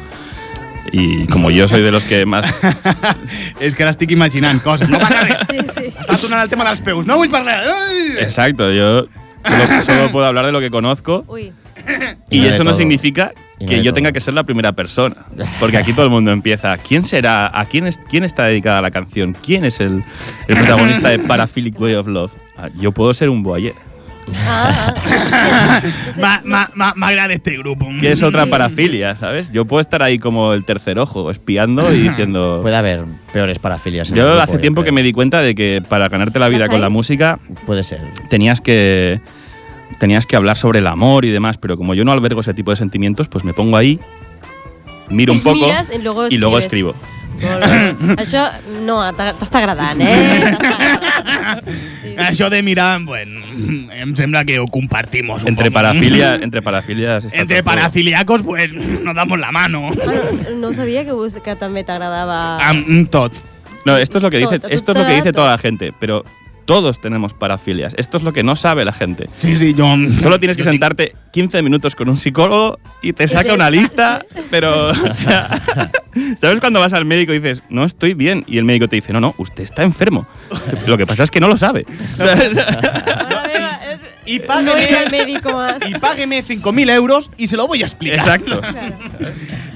Speaker 1: Y como yo soy de los que más...
Speaker 3: És que ara estic imaginant coses, no passa res.
Speaker 4: Sí, sí.
Speaker 3: Estava tornant al tema dels peus, no vull parlar. Ai!
Speaker 1: Exacto, yo solo, solo puedo hablar de lo que conozco
Speaker 4: Ui,
Speaker 1: y,
Speaker 2: Y no de
Speaker 1: eso no
Speaker 2: todo.
Speaker 1: significa
Speaker 2: Y no
Speaker 1: que
Speaker 2: de
Speaker 1: yo
Speaker 2: todo.
Speaker 1: tenga que ser la primera persona. Porque aquí todo el mundo empieza. ¿Quién será? ¿A quién, es, quién está dedicada la canción? ¿Quién es el, el protagonista de Paraphilic Way of Love? Ah, Yo puedo ser un boyer.
Speaker 4: ah, ah.
Speaker 3: Ma- ma- ma- M'agrada este grup.
Speaker 1: que es otra
Speaker 4: Sí.
Speaker 1: parafilia, ¿sabes? Yo puedo estar ahí como el tercer ojo, espiando y diciendo...
Speaker 2: Puede haber peores parafilias. en el
Speaker 1: Yo
Speaker 2: grupo, eh,
Speaker 1: hace tiempo que
Speaker 2: creo.
Speaker 1: me di cuenta de que para ganarte la vida
Speaker 4: ¿Las
Speaker 1: con la
Speaker 4: hay?
Speaker 1: música
Speaker 2: Puede ser.
Speaker 1: tenías que tenías que hablar sobre el amor y demás, pero como yo no albergo ese tipo de sentimientos, pues me pongo ahí, miro un poco
Speaker 4: Mires i luego
Speaker 1: y luego
Speaker 4: escribes.
Speaker 1: escribo.
Speaker 4: Molt bé. Això, no, t'ha- t'està agradant, eh? T'està agradant. Sí, sí.
Speaker 3: Això de mirar, bueno, em sembla que ho compartimos un
Speaker 1: Entre
Speaker 3: poco.
Speaker 1: parafilias, entre parafilias está
Speaker 3: Entre
Speaker 1: todo.
Speaker 3: parafiliacos, pues, nos damos la mano.
Speaker 4: Ah, no sabia que, vos, que també t'agradava...
Speaker 3: Amb amb tot.
Speaker 1: No, esto es lo que
Speaker 4: Todo,
Speaker 1: dice,
Speaker 4: todo,
Speaker 1: esto es lo que
Speaker 4: todo,
Speaker 1: dice toda
Speaker 4: todo.
Speaker 1: la gente, pero todos tenemos parafilias. Esto es lo que no sabe la gente.
Speaker 3: Sí, sí, jo...
Speaker 1: Solo tienes que
Speaker 3: jo estic-
Speaker 1: sentarte 15 minutos con un psicólogo y te saca una lista, pero... o sea, ¿Sabes cuando vas al médico y dices, no estoy bien? Y el médico te dice, no, no, usted está enfermo. Lo que pasa es que no lo sabe.
Speaker 4: Mare meva, eh,
Speaker 3: I
Speaker 4: No és el
Speaker 3: págame,
Speaker 4: médico más.
Speaker 3: y págame 5.000 euros y se lo voy a explicar.
Speaker 1: Exacto.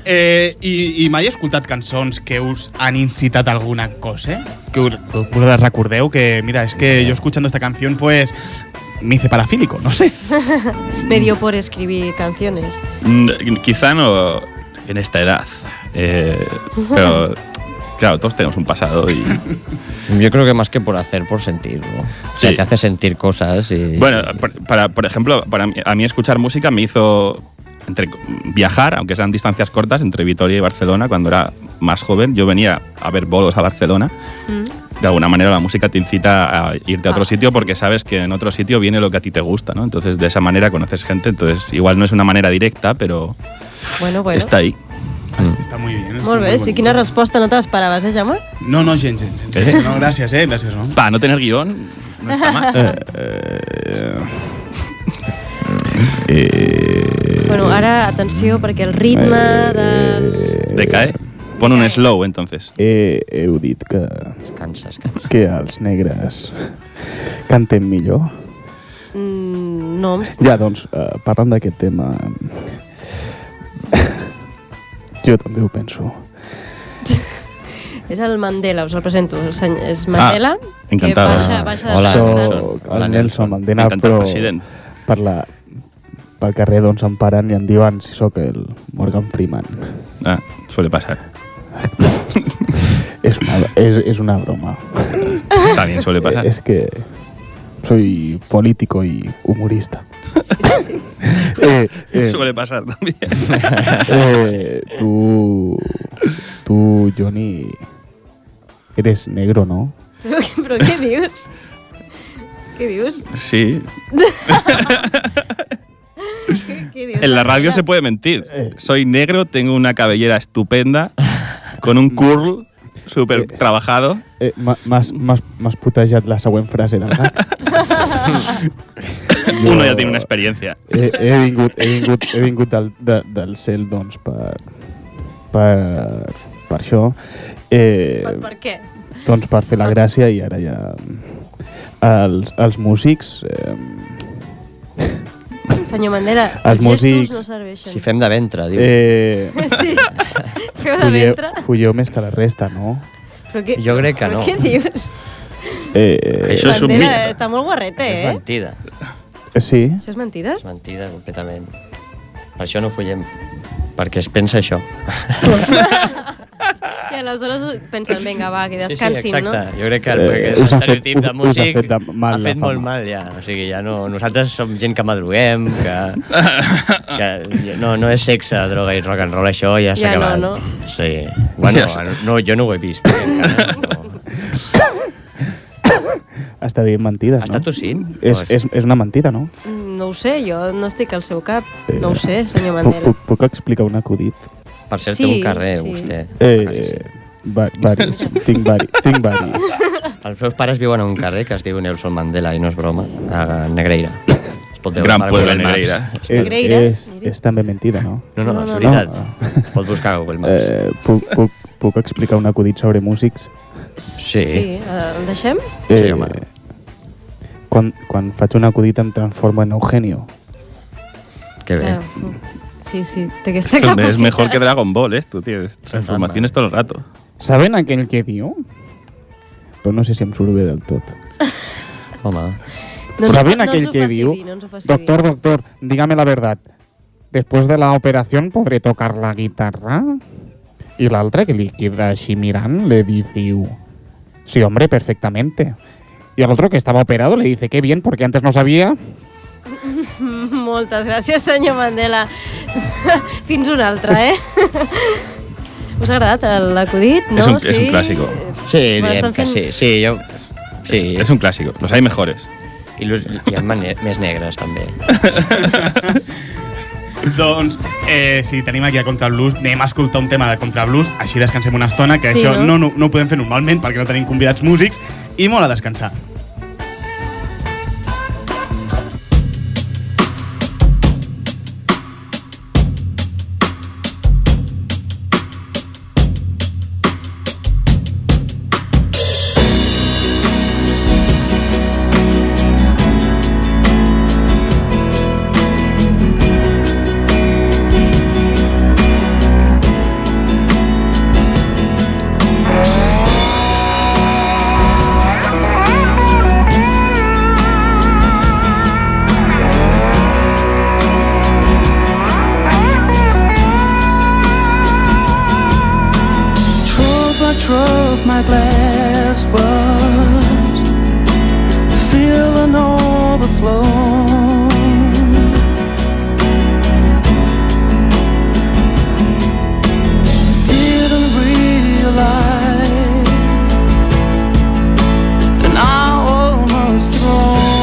Speaker 3: Eh, i, I mai he escoltat cançons que us han incitat a alguna cosa? Que us, que us recordeu que, mira, és que jo escuchando esta canción, pues, me hice parafílico, no sé.
Speaker 4: Me dio por escribir canciones.
Speaker 1: Mm, Quizá no en esta edad, eh, pero claro, todos tenemos un pasado y...
Speaker 2: Yo creo que más que por hacer, por sentir. ¿no? O sea,
Speaker 1: Sí.
Speaker 2: te hace sentir cosas y.
Speaker 1: Bueno, por, para, por ejemplo, para mí, a mí escuchar música me hizo entre, viajar, aunque sean distancias cortas, entre Vitoria y Barcelona cuando era más joven. Yo venía a ver bolos a Barcelona. De alguna manera la música te incita a irte a otro
Speaker 4: Mm. Ah,
Speaker 1: sitio
Speaker 4: sí.
Speaker 1: porque sabes que en otro sitio viene lo que a ti te gusta, ¿no? Entonces de esa manera conoces gente, entonces igual no es una manera directa, pero
Speaker 4: Bueno, bueno.
Speaker 1: está ahí.
Speaker 10: Mm.
Speaker 3: Està molt bé. està
Speaker 4: Molt bé, sí,
Speaker 3: bonic.
Speaker 4: quina resposta no te l'esperaves, eh, Jaume?
Speaker 3: No, no, gens, gens. gens. No, gràcies, eh? Gràcies, no?
Speaker 1: Para no tener guión, no está mal. Eh,
Speaker 4: Bueno, ara, atenció, perquè el ritme del...
Speaker 1: Decae. Pon un slow entonces.
Speaker 8: He, heu dit que,
Speaker 2: Cansas, cansas.
Speaker 8: que els negres cantem millor.
Speaker 4: Mm, No,
Speaker 8: Ja, doncs, eh, parlant d'aquest tema, jo també ho penso.
Speaker 4: és el Mandela, us el presento. el seny- És Mandela, que
Speaker 1: Ah, encantada.
Speaker 4: baixa, baixa
Speaker 2: Hola,
Speaker 4: de
Speaker 2: Nelson.
Speaker 8: Soc el
Speaker 2: Hola, Nelson.
Speaker 8: Nelson Mandela,
Speaker 1: M'encanta el
Speaker 8: però
Speaker 1: president.
Speaker 8: per la, pel carrer doncs em paren i em diuen si sóc el Morgan Freeman.
Speaker 1: Ah, suele pasar.
Speaker 8: És una, és, és una broma.
Speaker 1: También suele pasar.
Speaker 8: Es que soy político y humorista. Eh, eh,
Speaker 1: Suele pasar también.
Speaker 8: eh, tú, tú, Johnny, eres negro, ¿no?
Speaker 4: Però, però què dius? Què dius?
Speaker 1: Sí.
Speaker 4: Què dius?
Speaker 1: En la radio se puede mentir.
Speaker 8: Eh.
Speaker 1: Soy negro, tengo una cabellera estupenda, con un curl súper trabajado.
Speaker 8: Eh, m'ha- M'has m'has- m'has putejat la següent frase, la
Speaker 1: Uno ya tiene una experiencia.
Speaker 8: he, he, vingut, he, vingut, he vingut del, de, del cel, doncs, per, per, per això. Eh,
Speaker 4: Per, per què?
Speaker 8: Doncs per fer la gràcia i ara ja... Els, els músics... Eh,
Speaker 4: Senyor Mandela,
Speaker 8: Els
Speaker 4: els,
Speaker 8: músics-
Speaker 4: gestos no serveixen.
Speaker 2: Si fem de ventre, diu.
Speaker 8: eh,
Speaker 4: Sí, feu de
Speaker 8: fulleu,
Speaker 4: ventre.
Speaker 8: fulleu més que la resta, no?
Speaker 4: Però què,
Speaker 2: Jo crec que
Speaker 4: però
Speaker 2: no.
Speaker 4: Què dius?
Speaker 8: Eh,
Speaker 1: Això és un
Speaker 4: Bandera,
Speaker 1: mite.
Speaker 4: Està molt guarrete,
Speaker 2: Això és
Speaker 4: eh?
Speaker 2: mentida.
Speaker 8: sí,
Speaker 4: Això és mentida?
Speaker 2: És mentida, completament. Per això no follem. Perquè es pensa això.
Speaker 4: I aleshores pensen, vinga, va, que descansin,
Speaker 2: sí, exacte.
Speaker 4: no?
Speaker 2: Jo crec que
Speaker 8: Eh,
Speaker 2: eh,
Speaker 8: us
Speaker 2: us
Speaker 8: ha
Speaker 2: ha
Speaker 8: fet-
Speaker 2: fet,
Speaker 8: us-
Speaker 2: de
Speaker 8: us ha
Speaker 2: músic
Speaker 8: fet de mal
Speaker 2: ha
Speaker 8: la
Speaker 2: fet molt
Speaker 8: fama.
Speaker 2: mal, ja. O sigui, ja no, nosaltres som gent que madruguem, que, que no, no és sexe, droga i rock and roll, això ja s'ha
Speaker 4: Ja no,
Speaker 2: acabat.
Speaker 4: no?
Speaker 2: Sí. Bueno,
Speaker 1: Ja s'ha-
Speaker 2: no, jo no ho he vist. eh, encara, no.
Speaker 8: Està dient mentides,
Speaker 2: Està
Speaker 8: no?
Speaker 2: tossint?
Speaker 8: És,
Speaker 1: pues.
Speaker 8: és, és una mentida, no?
Speaker 4: Mm, No ho sé, jo no estic al seu cap. No ho sé, senyor
Speaker 8: Puc,
Speaker 4: Mandela.
Speaker 8: puc, puc explicar un acudit?
Speaker 2: Per cert,
Speaker 4: Sí,
Speaker 2: té un carrer,
Speaker 4: sí.
Speaker 2: vostè.
Speaker 8: Eh, va, varis. tinc varis. Tinc varis.
Speaker 2: Els meus pares viuen a un carrer que es diu Nelson Mandela, i no és broma, a Negreira. Es pot veure
Speaker 1: Gran
Speaker 2: per
Speaker 1: poble
Speaker 2: Google Maps. Eh,
Speaker 1: Negreira.
Speaker 8: Eh,
Speaker 4: Negreira,
Speaker 8: és, és també mentida, no?
Speaker 2: No, no,
Speaker 4: No,
Speaker 2: és
Speaker 4: no, no.
Speaker 2: veritat. Es pot buscar a Google Maps.
Speaker 8: Eh, puc, puc, puc explicar un acudit sobre músics?
Speaker 2: Sí.
Speaker 4: Sí, eh, el deixem?
Speaker 8: Eh,
Speaker 2: Sí, home.
Speaker 8: Quan, quan faig un acudit em transformo en Eugenio.
Speaker 2: Que bé.
Speaker 4: Ah, Sí, sí, té aquesta
Speaker 1: Hombre,
Speaker 4: capacitat.
Speaker 1: Es mejor que Dragon Ball ¿eh? esto, tío. Transformaciones todo el rato.
Speaker 8: Saben aquell que diu? Però no sé si em surt bé del tot.
Speaker 2: Home.
Speaker 4: No ens ho
Speaker 8: ¿Saben
Speaker 4: fa- no
Speaker 8: aquell
Speaker 4: ens ho
Speaker 8: que
Speaker 4: faci
Speaker 8: diu?
Speaker 4: dir, no ens ho faci dir.
Speaker 8: doctor, doctor, dígame la verdad. Después de la operación podré tocar la guitarra? I l'altre, que li queda així mirant, le diu... Sí, hombre, perfectamente. Y al otro que estaba operado le dice, qué bien, porque antes no sabía.
Speaker 4: Moltes gràcies, senyor Mandela. Fins un altre, eh? Us ha agradat el- l'acudit, no?
Speaker 1: És un- és un clàssico.
Speaker 2: Sí, diem
Speaker 4: Bueno, estan
Speaker 2: que
Speaker 4: fent-
Speaker 2: sí. Sí, jo... Sí,
Speaker 1: Es, es un clásico. Los hay mejores.
Speaker 2: i, los- i amb mane- més negres, també.
Speaker 3: Doncs, eh, si tenim aquí a Contrablues, anem a escoltar un tema de Contrablues, així descansem una estona, que
Speaker 4: Sí,
Speaker 3: sí, això no?
Speaker 4: no?
Speaker 3: No, no, ho podem fer normalment perquè no tenim convidats músics, i molt a descansar.
Speaker 10: Trouble, trouble, my glass was filling overflow. Didn't realize, and I almost drowned.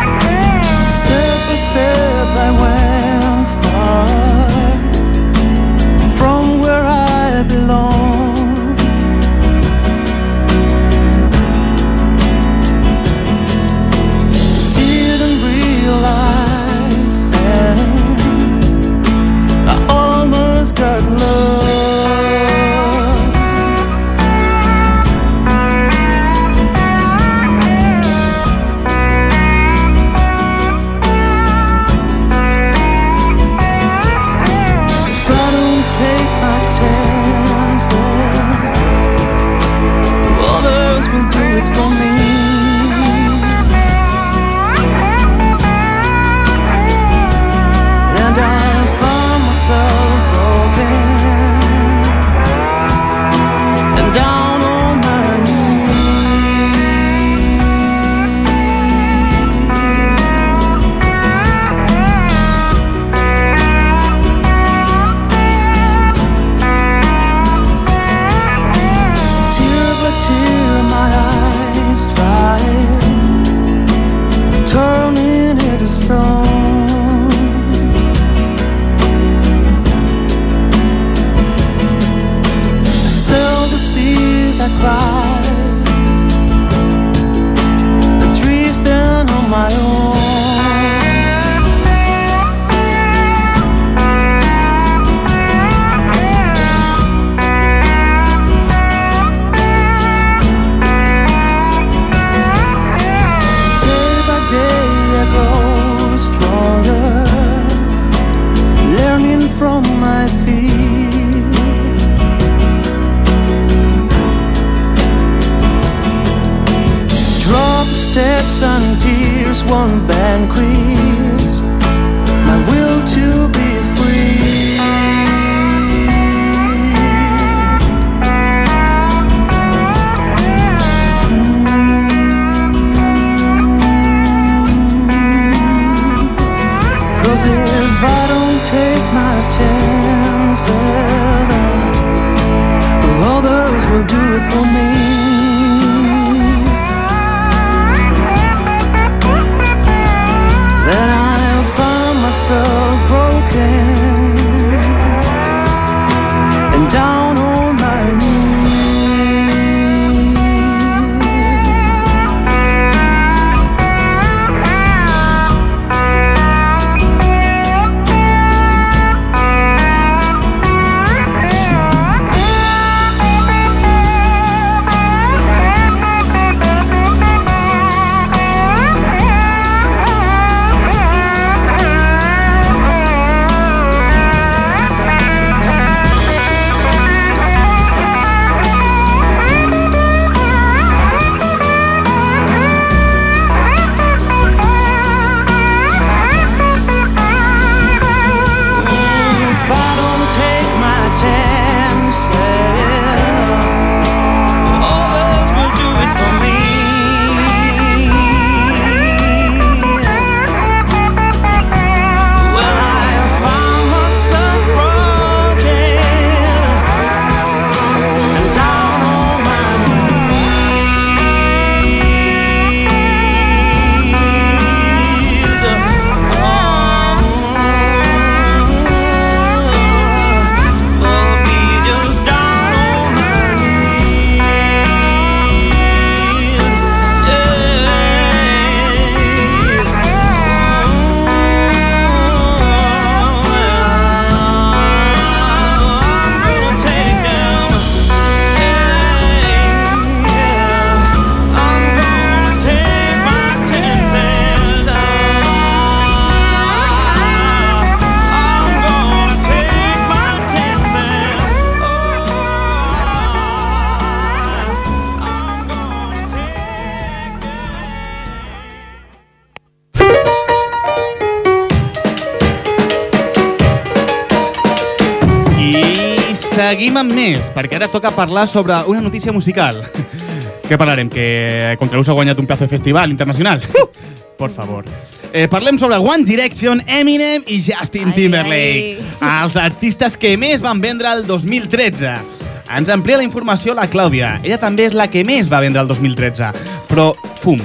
Speaker 10: Step by step I went far from where I belong. Didn't realize and I almost got lost. If I don't take my chances, others will do it for me. And I found myself broken and down on my knees. Tear by tear, my eyes dry, turning into stone. Sell the seas I cry, drifting on my own. Day by day I grow stronger, learning from my feet.
Speaker 9: one vanquished my will to be free. Cause if I don't take my chances, I- well, others will do it for me. Then I found myself broken and down on my knees. If I don't take my chances, others will do it for me. Well, I found myself broken and down on my knees. Oh, oh, be just down on my knees.
Speaker 3: I seguim amb més, perquè ara toca parlar sobre una notícia musical. Què parlarem? Que Contraus ha guanyat un plazo de festival internacional? Por favor. Eh, parlem sobre One Direction, Eminem i Justin
Speaker 4: Ai,
Speaker 3: Timberlake, els artistes que més van vendre el 2013. Ens amplia la informació la Clàudia. Ella també és la que més va vendre el 2013. Però, fum,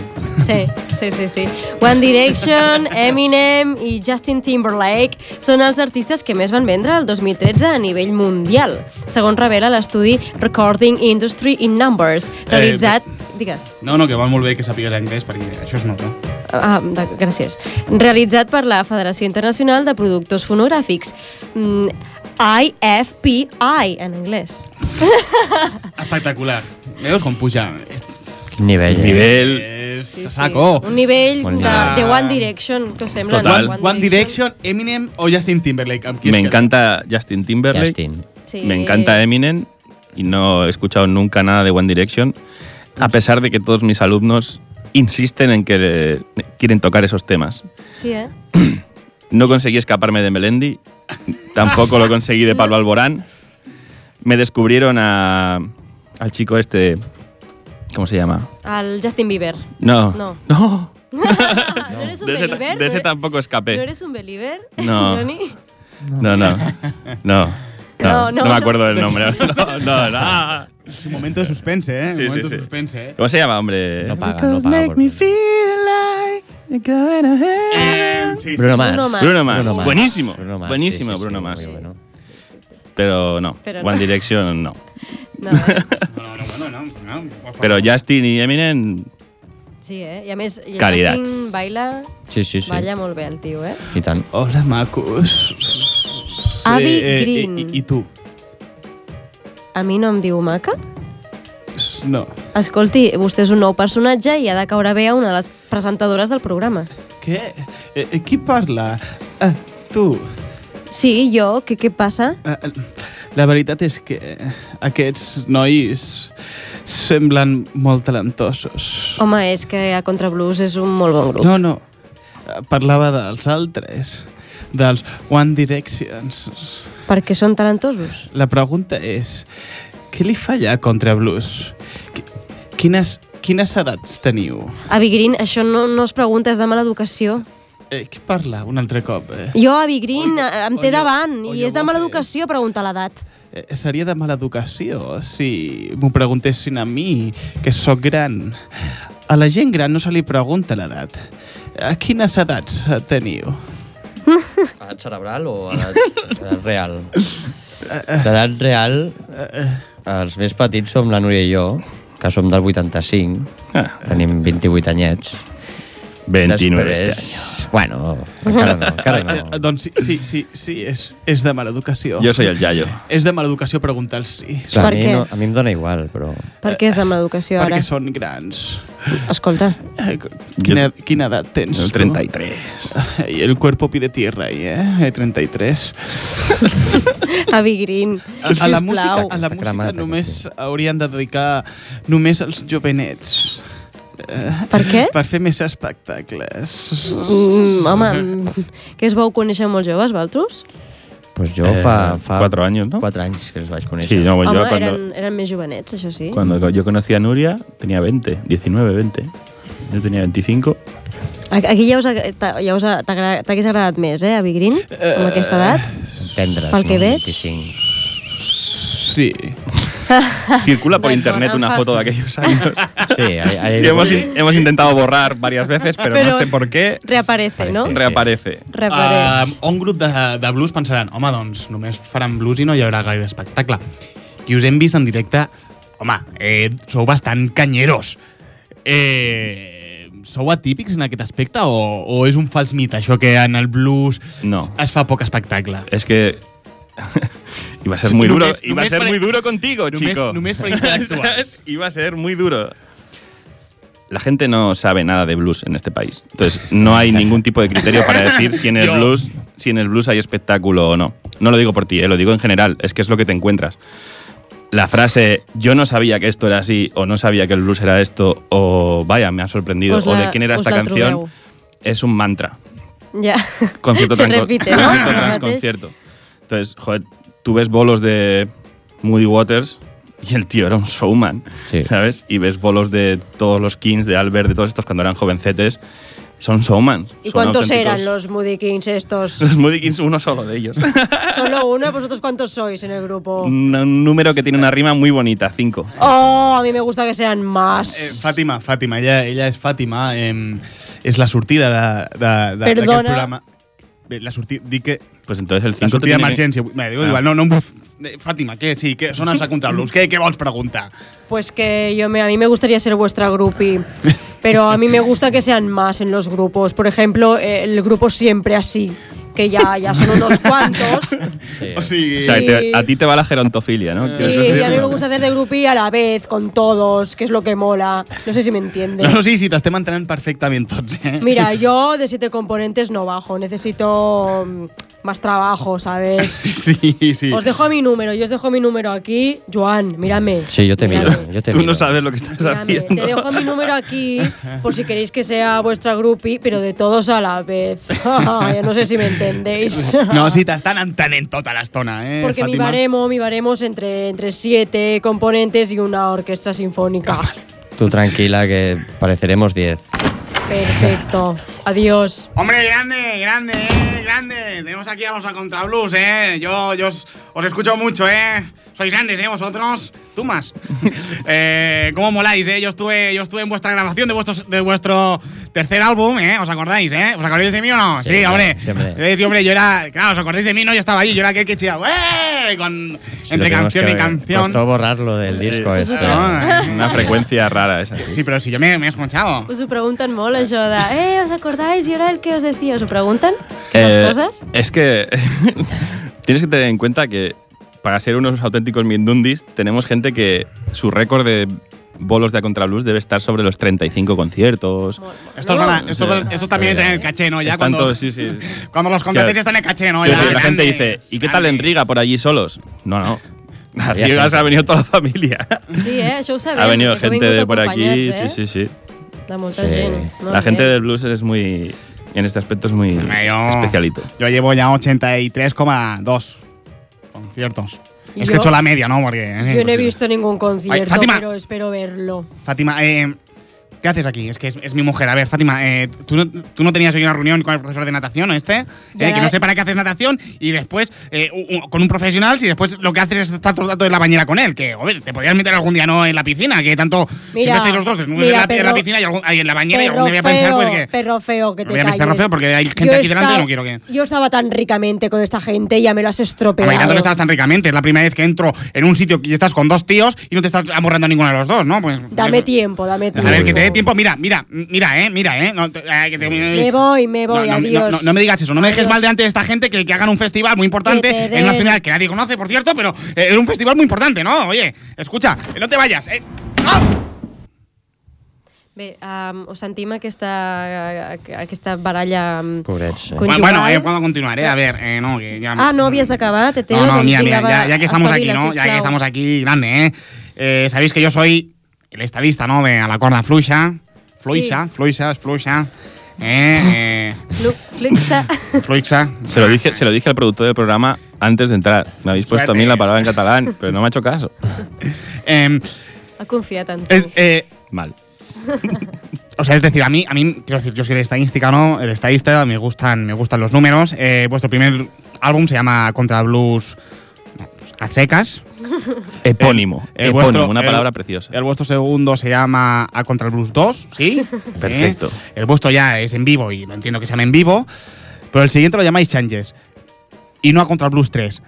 Speaker 4: Sí, sí, sí, sí. One Direction, Eminem i Justin Timberlake són els artistes que més van vendre el 2013 a nivell mundial, segons revela l'estudi Recording Industry in Numbers,
Speaker 1: Eh,
Speaker 4: realitzat... Digues.
Speaker 3: No, no, que val molt bé que sàpigues anglès, perquè això es nota.
Speaker 4: Ah, de, gràcies. Realitzat per la Federació Internacional de Productors Fonogràfics, mm, IFPI, en anglès.
Speaker 3: Espectacular. Veus com puja? És,
Speaker 2: Nivell. eh?
Speaker 1: Nivell...
Speaker 8: Eh.
Speaker 3: és a saco.
Speaker 4: Un nivell
Speaker 2: Bon
Speaker 4: de,
Speaker 2: nivell.
Speaker 4: de One Direction, que us sembla,
Speaker 1: Total.
Speaker 4: no?
Speaker 3: One Direction, Eminem o Justin Timberlake? Amb qui es
Speaker 1: Me
Speaker 3: queda?
Speaker 1: encanta Justin Timberlake.
Speaker 2: Justin.
Speaker 4: Sí.
Speaker 1: Me encanta eh? Eminem y no he escuchado nunca nada de One Direction, a pesar de que todos mis alumnos insisten en que eh, quieren tocar esos temas.
Speaker 4: Sí, eh?
Speaker 1: No conseguí escaparme de Melendi, tampoco lo conseguí de Pablo Alborán. Me descubrieron a- al chico este, ¿cómo se llama?
Speaker 4: El Justin Bieber.
Speaker 1: No.
Speaker 4: No.
Speaker 1: No.
Speaker 4: Ah, ¿No eres un
Speaker 1: De ese,
Speaker 4: believer?
Speaker 1: de ese
Speaker 4: ¿No eres-
Speaker 1: tampoco escapé.
Speaker 4: ¿No eres un believer?
Speaker 1: No.
Speaker 4: Johnny?
Speaker 1: No, no. No.
Speaker 4: No,
Speaker 1: No, no
Speaker 4: no, no.
Speaker 1: me acuerdo del nombre. No, no, no.
Speaker 3: És un momento de suspense, eh?
Speaker 1: Sí,
Speaker 3: un momento
Speaker 1: sí,
Speaker 3: de
Speaker 1: sí.
Speaker 3: suspense, eh?
Speaker 1: ¿Cómo se llama, hombre?
Speaker 2: No paga, no paga. Por...
Speaker 3: eh sí, sí.
Speaker 2: Bruno Mars.
Speaker 4: Bruno Mars.
Speaker 1: Bruno Mars.
Speaker 2: Bruno Mars.
Speaker 1: Buenísimo.
Speaker 2: Bruno Mars,
Speaker 1: Buenísimo,
Speaker 2: sí, sí, sí,
Speaker 1: Bruno Mars.
Speaker 2: muy bueno.
Speaker 1: Pero no.
Speaker 4: Pero no.
Speaker 1: One Direction no.
Speaker 4: No,
Speaker 3: No, no, bueno, no, no, no. por favor.
Speaker 1: Pero Justin y Eminem.
Speaker 4: sí, eh? I a més, i el
Speaker 1: Calidats.
Speaker 4: Justin baila,
Speaker 2: Sí, sí, sí.
Speaker 4: balla molt bé el tio, eh?
Speaker 2: I tant.
Speaker 3: Hola, macos.
Speaker 4: Abby
Speaker 3: eh,
Speaker 4: Green.
Speaker 3: I, i, I tu?
Speaker 4: A mi no em diu maca.
Speaker 3: No.
Speaker 4: Escolti, vostè és un nou personatge i ha de caure bé a una de les presentadores del programa.
Speaker 3: Què? Eh, eh, qui parla? Ah, tu.
Speaker 4: Sí, jo, què, què passa?
Speaker 3: Ah, la veritat és que aquests nois semblen molt talentosos.
Speaker 4: Home, és que a Contrablues és un molt bon grup.
Speaker 3: No, no. eh, parlava dels altres, dels One Directions.
Speaker 4: Perquè són talentosos.
Speaker 3: La pregunta és, què li falla contra Blues? Qui- Quines, quines edats teniu?
Speaker 4: Avi Green, això no, no es pregunta, és de mala educació.
Speaker 3: Eh, qui parla un altre cop? Eh?
Speaker 4: Jo, Avi Green, eh, em té
Speaker 3: on jo-
Speaker 4: davant
Speaker 3: on
Speaker 4: i
Speaker 3: jo
Speaker 4: és de
Speaker 3: ho
Speaker 4: mala
Speaker 3: sé.
Speaker 4: educació preguntar l'edat.
Speaker 3: Eh, Seria de mala educació si m'ho preguntessin a mi, que sóc gran. A la gent gran no se li pregunta l'edat. A quines edats eh, teniu?
Speaker 2: Edat cerebral o edat, edat real? L'edat real, els més petits som la Núria i jo, que som del 85,
Speaker 1: ah,
Speaker 2: tenim 28 anyets.
Speaker 1: 29 este
Speaker 2: Després- Bueno, encara no, encara
Speaker 3: Eh,
Speaker 2: no.
Speaker 3: doncs sí, sí, sí, sí és, és de mala educació.
Speaker 1: Yo soy el Yayo.
Speaker 3: És de mala educació preguntar el sí.
Speaker 2: Clar,
Speaker 4: doncs, Per
Speaker 2: a, mi
Speaker 4: què?
Speaker 2: no, a mi em dóna igual, però...
Speaker 4: Per què és de mala educació ara?
Speaker 3: Perquè són grans.
Speaker 4: Escolta,
Speaker 3: Eh, Quina, quina edat tens?
Speaker 1: El
Speaker 3: tu?
Speaker 1: 33.
Speaker 3: Ay, el cuerpo pide tierra, ahí, ¿eh? Eh, 33.
Speaker 4: Avi Green,
Speaker 3: A, a la música, a la
Speaker 2: Està
Speaker 3: música
Speaker 2: cremat,
Speaker 3: només
Speaker 2: aquest
Speaker 3: haurien de dedicar només els jovenets. Eh,
Speaker 4: Per què?
Speaker 3: Per fer més espectacles.
Speaker 4: Mm, home, mm, que es vau conèixer molt joves, Valtros?
Speaker 2: Pues jo fa, fa...
Speaker 1: Cuatro años, Eh, ¿no?
Speaker 2: 4 anys que els vaig conèixer.
Speaker 1: Sí, no,
Speaker 4: Home,
Speaker 1: yo cuando,
Speaker 4: eren, eren més jovenets, això sí.
Speaker 1: cuando yo conocí a Nuria tenía 20, 19, 20. Yo tenía 25.
Speaker 4: A- Aquí ja us, aga- t'a- ja us a- t'agra- t'hagués agradat més, eh, Avi Green, amb aquesta edat.
Speaker 2: Tendres,
Speaker 4: Pel que
Speaker 2: no?
Speaker 4: veig.
Speaker 2: 25.
Speaker 3: Sí.
Speaker 1: Circula por
Speaker 4: Bueno,
Speaker 1: internet
Speaker 4: no
Speaker 1: una
Speaker 4: fa-
Speaker 1: foto de aquellos años.
Speaker 2: Sí, ahí, ahí
Speaker 1: Y hemos, in- hemos intentado borrar varias veces, pero, no sé por qué
Speaker 4: Reaparece, no?
Speaker 2: Reaparece.
Speaker 1: reaparece.
Speaker 4: Reapareix.
Speaker 3: Ah, un grup de, de blues pensaran, home, doncs només faran blues i no hi haurà gaire espectacle. I us hem vist en directe, home, eh, sou bastant canyeros. Eh, sou atípics en aquest aspecte o, o és un fals mite això que en el blues
Speaker 1: No.
Speaker 3: es fa poc espectacle?
Speaker 1: Es que iba a ser muy duro.
Speaker 3: Només-
Speaker 1: Iba a
Speaker 3: només
Speaker 1: ser
Speaker 3: per-
Speaker 1: muy duro contigo,
Speaker 3: només-
Speaker 1: chico.
Speaker 3: només per interactuar.
Speaker 1: ¿Sabes? iba a ser muy duro. La gente no sabe nada de blues en este país. Entonces, no hay ningún tipo de criterio para decir si en el
Speaker 3: Yo.
Speaker 1: blues, si en el blues hay espectáculo o no. No lo digo por ti, eh, lo digo en general, es que es lo que te encuentras. La frase yo no sabía que esto era así o no sabía que el blues era esto o vaya, me ha sorprendido
Speaker 4: Us
Speaker 1: o
Speaker 4: la-
Speaker 1: de quién era
Speaker 4: us
Speaker 1: esta
Speaker 4: la
Speaker 1: canción
Speaker 4: trobeu.
Speaker 1: es un mantra.
Speaker 4: Ja.
Speaker 1: concierto
Speaker 4: Se
Speaker 1: tras con-
Speaker 4: repite, ¿no?
Speaker 1: concierto tras
Speaker 4: Antes.
Speaker 1: concierto. Entonces, joder, tú ves bolos de Moody Waters y el tío era un showman,
Speaker 2: Sí.
Speaker 1: ¿sabes? Y ves bolos de todos los Kings, de Albert, de todos estos cuando eran jovencetes, son showman.
Speaker 4: ¿Y
Speaker 1: son
Speaker 4: cuántos
Speaker 1: auténticos-
Speaker 4: eran los Moody Kings estos?
Speaker 1: Los Moody Kings, uno solo de ellos.
Speaker 4: Solo uno, ¿vosotros cuántos sois en el grupo?
Speaker 1: un, un número que tiene una rima muy bonita, cinco.
Speaker 4: Oh, a mí me gusta que sean más.
Speaker 3: Eh, Fàtima, Fàtima, ella, ella és Fàtima, eh, és la sortida de- de- de- d'aquest
Speaker 4: Perdona.
Speaker 3: programa. Bé, la sortida, dic que
Speaker 1: Pues entonces el
Speaker 3: la
Speaker 1: cinco te
Speaker 3: sortida
Speaker 1: tiene que-
Speaker 3: d'emergència. Bé, diu,
Speaker 1: Ah.
Speaker 3: igual, no, no em vull- Eh, Fàtima, què? Sí, què? Són els de contra blues. Què, què vols preguntar?
Speaker 4: Pues que yo me, a mí me gustaría ser vuestra groupie, pero a mí me gusta que sean más en los grupos. Por ejemplo, eh, el grupo siempre así, que ya, ya son unos cuantos.
Speaker 3: O sigui,
Speaker 1: O sea,
Speaker 4: Sí.
Speaker 1: te- a ti te va la gerontofilia, ¿no?
Speaker 4: Sí, y a mí me gusta hacer de groupie a la vez, con todos, que es lo que mola. No sé si me entiendes.
Speaker 3: no, no, sí, sí, t'estem entenent perfectament tots, eh?
Speaker 4: Mira, yo de siete componentes no bajo, necesito mm, más trabajo, ¿sabes?
Speaker 3: Sí, sí.
Speaker 4: Os dejo mi número, yo os dejo mi número aquí. Joan, mírame.
Speaker 2: Sí, yo te miro,
Speaker 4: Mírame.
Speaker 2: yo te
Speaker 1: Tú
Speaker 2: miro.
Speaker 1: no sabes lo que estás
Speaker 4: Espérame,
Speaker 1: haciendo.
Speaker 4: Te dejo mi número aquí por si queréis que sea vuestra grupi, pero de todos a la vez. ya no sé si me entendéis.
Speaker 3: No, sí, t'estan entenent tota l'estona, eh,
Speaker 4: Porque mi
Speaker 3: Fàtima?
Speaker 4: baremo, mi baremo es entre, entre siete componentes y una orquesta sinfónica.
Speaker 2: Tú tranquila que pareceremos 10.
Speaker 4: Perfecto. Adiós.
Speaker 3: Hombre, grande, grande, eh, grande. Tenemos aquí a los a contrablues, eh. Yo, yo os, os escucho mucho, eh. Sois grandes, eh, vosotros. Tú más. eh, ¿Cómo moláis, eh? Yo estuve, yo estuve en vuestra grabación de, vuestros, de vuestro tercer álbum, eh. ¿Os acordáis, eh? ¿Os acordáis de mí o no?
Speaker 2: Sí,
Speaker 3: Sí, hombre. Eh,
Speaker 2: sí, hombre.
Speaker 3: Sí, sí, hombre, yo era. Claro, ¿os acordáis de mí? No, yo estaba ahí. Yo era aquel que chillaba, ¡eh! Con,
Speaker 2: Si
Speaker 3: entre
Speaker 2: lo tenemos
Speaker 3: canción
Speaker 2: que
Speaker 3: y
Speaker 2: ver.
Speaker 3: canción.
Speaker 2: Costó borrarlo del disco
Speaker 4: Eso
Speaker 2: este.
Speaker 3: no, eh.
Speaker 1: Una frecuencia rara esa.
Speaker 3: Sí, pero si yo me, me he escuchado.
Speaker 4: Us ho pregunten molt, això de... Eh, us acordáis? I era el que os decía. Us ho pregunten?
Speaker 1: Eh, Es que tienes que tener en cuenta que para ser unos auténticos mindundis tenemos gente que su récord de bolos de a contrablues debe estar sobre los 35 conciertos.
Speaker 3: Esto, es buena- esto, esto también
Speaker 1: Eh,
Speaker 3: entra en el caché, ¿no? Ya
Speaker 1: Están
Speaker 3: cuando-
Speaker 1: todos- sí, sí.
Speaker 3: Cuando los contratéis
Speaker 1: Claro.
Speaker 3: están en el caché, ¿no?
Speaker 1: Quiero
Speaker 3: Ya,
Speaker 1: decir, la gente dice,
Speaker 3: grandes,
Speaker 1: ¿y qué tal en
Speaker 3: grandes".
Speaker 1: Riga por allí solos? No, no. A
Speaker 2: Había
Speaker 1: Riga se
Speaker 2: gente.
Speaker 1: ha venido toda la familia.
Speaker 4: Sí, eh, això ho sabem.
Speaker 1: Ha venido
Speaker 4: perquè heu
Speaker 1: gente
Speaker 4: vingut
Speaker 1: de por aquí,
Speaker 4: acompanyats,
Speaker 1: sí, sí, sí.
Speaker 4: De molta
Speaker 2: Sí.
Speaker 4: gent. Molt
Speaker 1: La gente
Speaker 4: bé.
Speaker 1: del blues es muy en este aspecto es muy
Speaker 3: Hombre, yo-
Speaker 1: especialito.
Speaker 3: Yo llevo ya 83,2 conciertos. Es que he
Speaker 4: Yo-
Speaker 3: hecho la media, ¿no? Porque, eh, pues, es
Speaker 4: Yo no he
Speaker 3: imposible.
Speaker 4: visto ningún concierto,
Speaker 3: Fátima.
Speaker 4: pero espero verlo.
Speaker 3: Fátima, eh, ¿qué haces aquí? Es que es, es mi mujer. A ver, Fátima, eh, ¿tú, no, tú no tenías hoy una reunión con el profesor de natación, ¿o este?
Speaker 4: Ya
Speaker 3: Eh, que
Speaker 4: la-
Speaker 3: no sé para qué haces natación y después eh, u- u- con un profesional, si después lo que haces es estar todo el rato en la bañera con él. Que, joder, te podrías meter algún día no en la piscina, que tanto. siempre
Speaker 4: Mira,
Speaker 3: estáis los dos desnudos
Speaker 4: mira,
Speaker 3: en, la, en la
Speaker 4: perro-
Speaker 3: piscina y algún- ay, en la bañera y
Speaker 4: Perro
Speaker 3: algún día voy a pensar,
Speaker 4: feo,
Speaker 3: pues que.
Speaker 4: perro feo, que
Speaker 3: No
Speaker 4: te
Speaker 3: voy a pensar perro
Speaker 4: calles.
Speaker 3: feo porque hay gente
Speaker 4: Yo
Speaker 3: aquí delante y
Speaker 4: estaba-
Speaker 3: no quiero que.
Speaker 4: Yo estaba tan ricamente con esta gente y ya me lo has estropeado.
Speaker 3: Hombre, y tanto que estabas tan ricamente, es la primera vez que entro en un sitio y estás con dos tíos y no te estás amorrando a ninguno de los dos, ¿no? Pues
Speaker 4: Dame
Speaker 3: eso-
Speaker 4: tiempo, dame
Speaker 3: A
Speaker 4: tiempo.
Speaker 3: ver, que te dé tiempo. Mira, mira, mira, eh, mira, eh. No, te- eh, que te-
Speaker 4: Me voy, me voy,
Speaker 3: no, no,
Speaker 4: adiós.
Speaker 3: no, no, no me digas eso, no me dejes
Speaker 4: Adiós.
Speaker 3: mal delante de esta gente que, que hagan un festival muy importante
Speaker 4: Que te den.
Speaker 3: en una ciudad que nadie conoce, por cierto, pero eh, es un festival muy importante, ¿no? Oye, escucha, eh, no te vayas. eh. ¡Ah!
Speaker 4: Bé, um, us sentim aquesta, aquesta baralla um,
Speaker 2: Pobrets, eh?
Speaker 4: conjugal.
Speaker 3: Bueno, eh, puedo continuar, eh. A ver, eh, no, que ya.
Speaker 4: Ah, no havies acabat, Eteo?
Speaker 3: No, no,
Speaker 4: Doncs
Speaker 3: mira,
Speaker 4: vinga,
Speaker 3: mira,
Speaker 4: va,
Speaker 3: ya, ya que estamos aquí,
Speaker 4: espavila,
Speaker 3: ¿no? Ya que
Speaker 4: sisplau.
Speaker 3: estamos aquí, grande, ¿eh? Eh, Sabéis que yo soy el estadista, ¿no? De a la corda fluixa. Fluixa, fluixa, es fluixa. Eh,
Speaker 4: Lu- Flixa.
Speaker 3: eh, fluixa.
Speaker 1: Se lo, dije, se lo dije al productor del programa antes de entrar. Me habéis puesto a mí
Speaker 3: Suerte.
Speaker 1: la palabra en catalán, pero no me ha hecho caso.
Speaker 3: Em,
Speaker 4: Ha confiat en tu.
Speaker 3: eh, eh,
Speaker 1: Mal.
Speaker 3: O sea, es decir, a mí, a mí, quiero decir, yo soy el estadística, ¿no? El estadista, me gustan, me gustan los números. Eh, vuestro primer álbum se llama Contra Blues pues, a secas.
Speaker 1: Epónimo.
Speaker 3: El
Speaker 1: epónimo,
Speaker 3: vuestro-
Speaker 1: una
Speaker 3: el-
Speaker 1: palabra preciosa.
Speaker 3: El vuestro segundo se llama A Contra el Blues 2, ¿sí?
Speaker 1: Perfecto.
Speaker 3: Eh, El vuestro ya es en vivo y lo entiendo que se llama en vivo. Pero el siguiente lo llamáis Changes. Y no A Contra el Blues 3.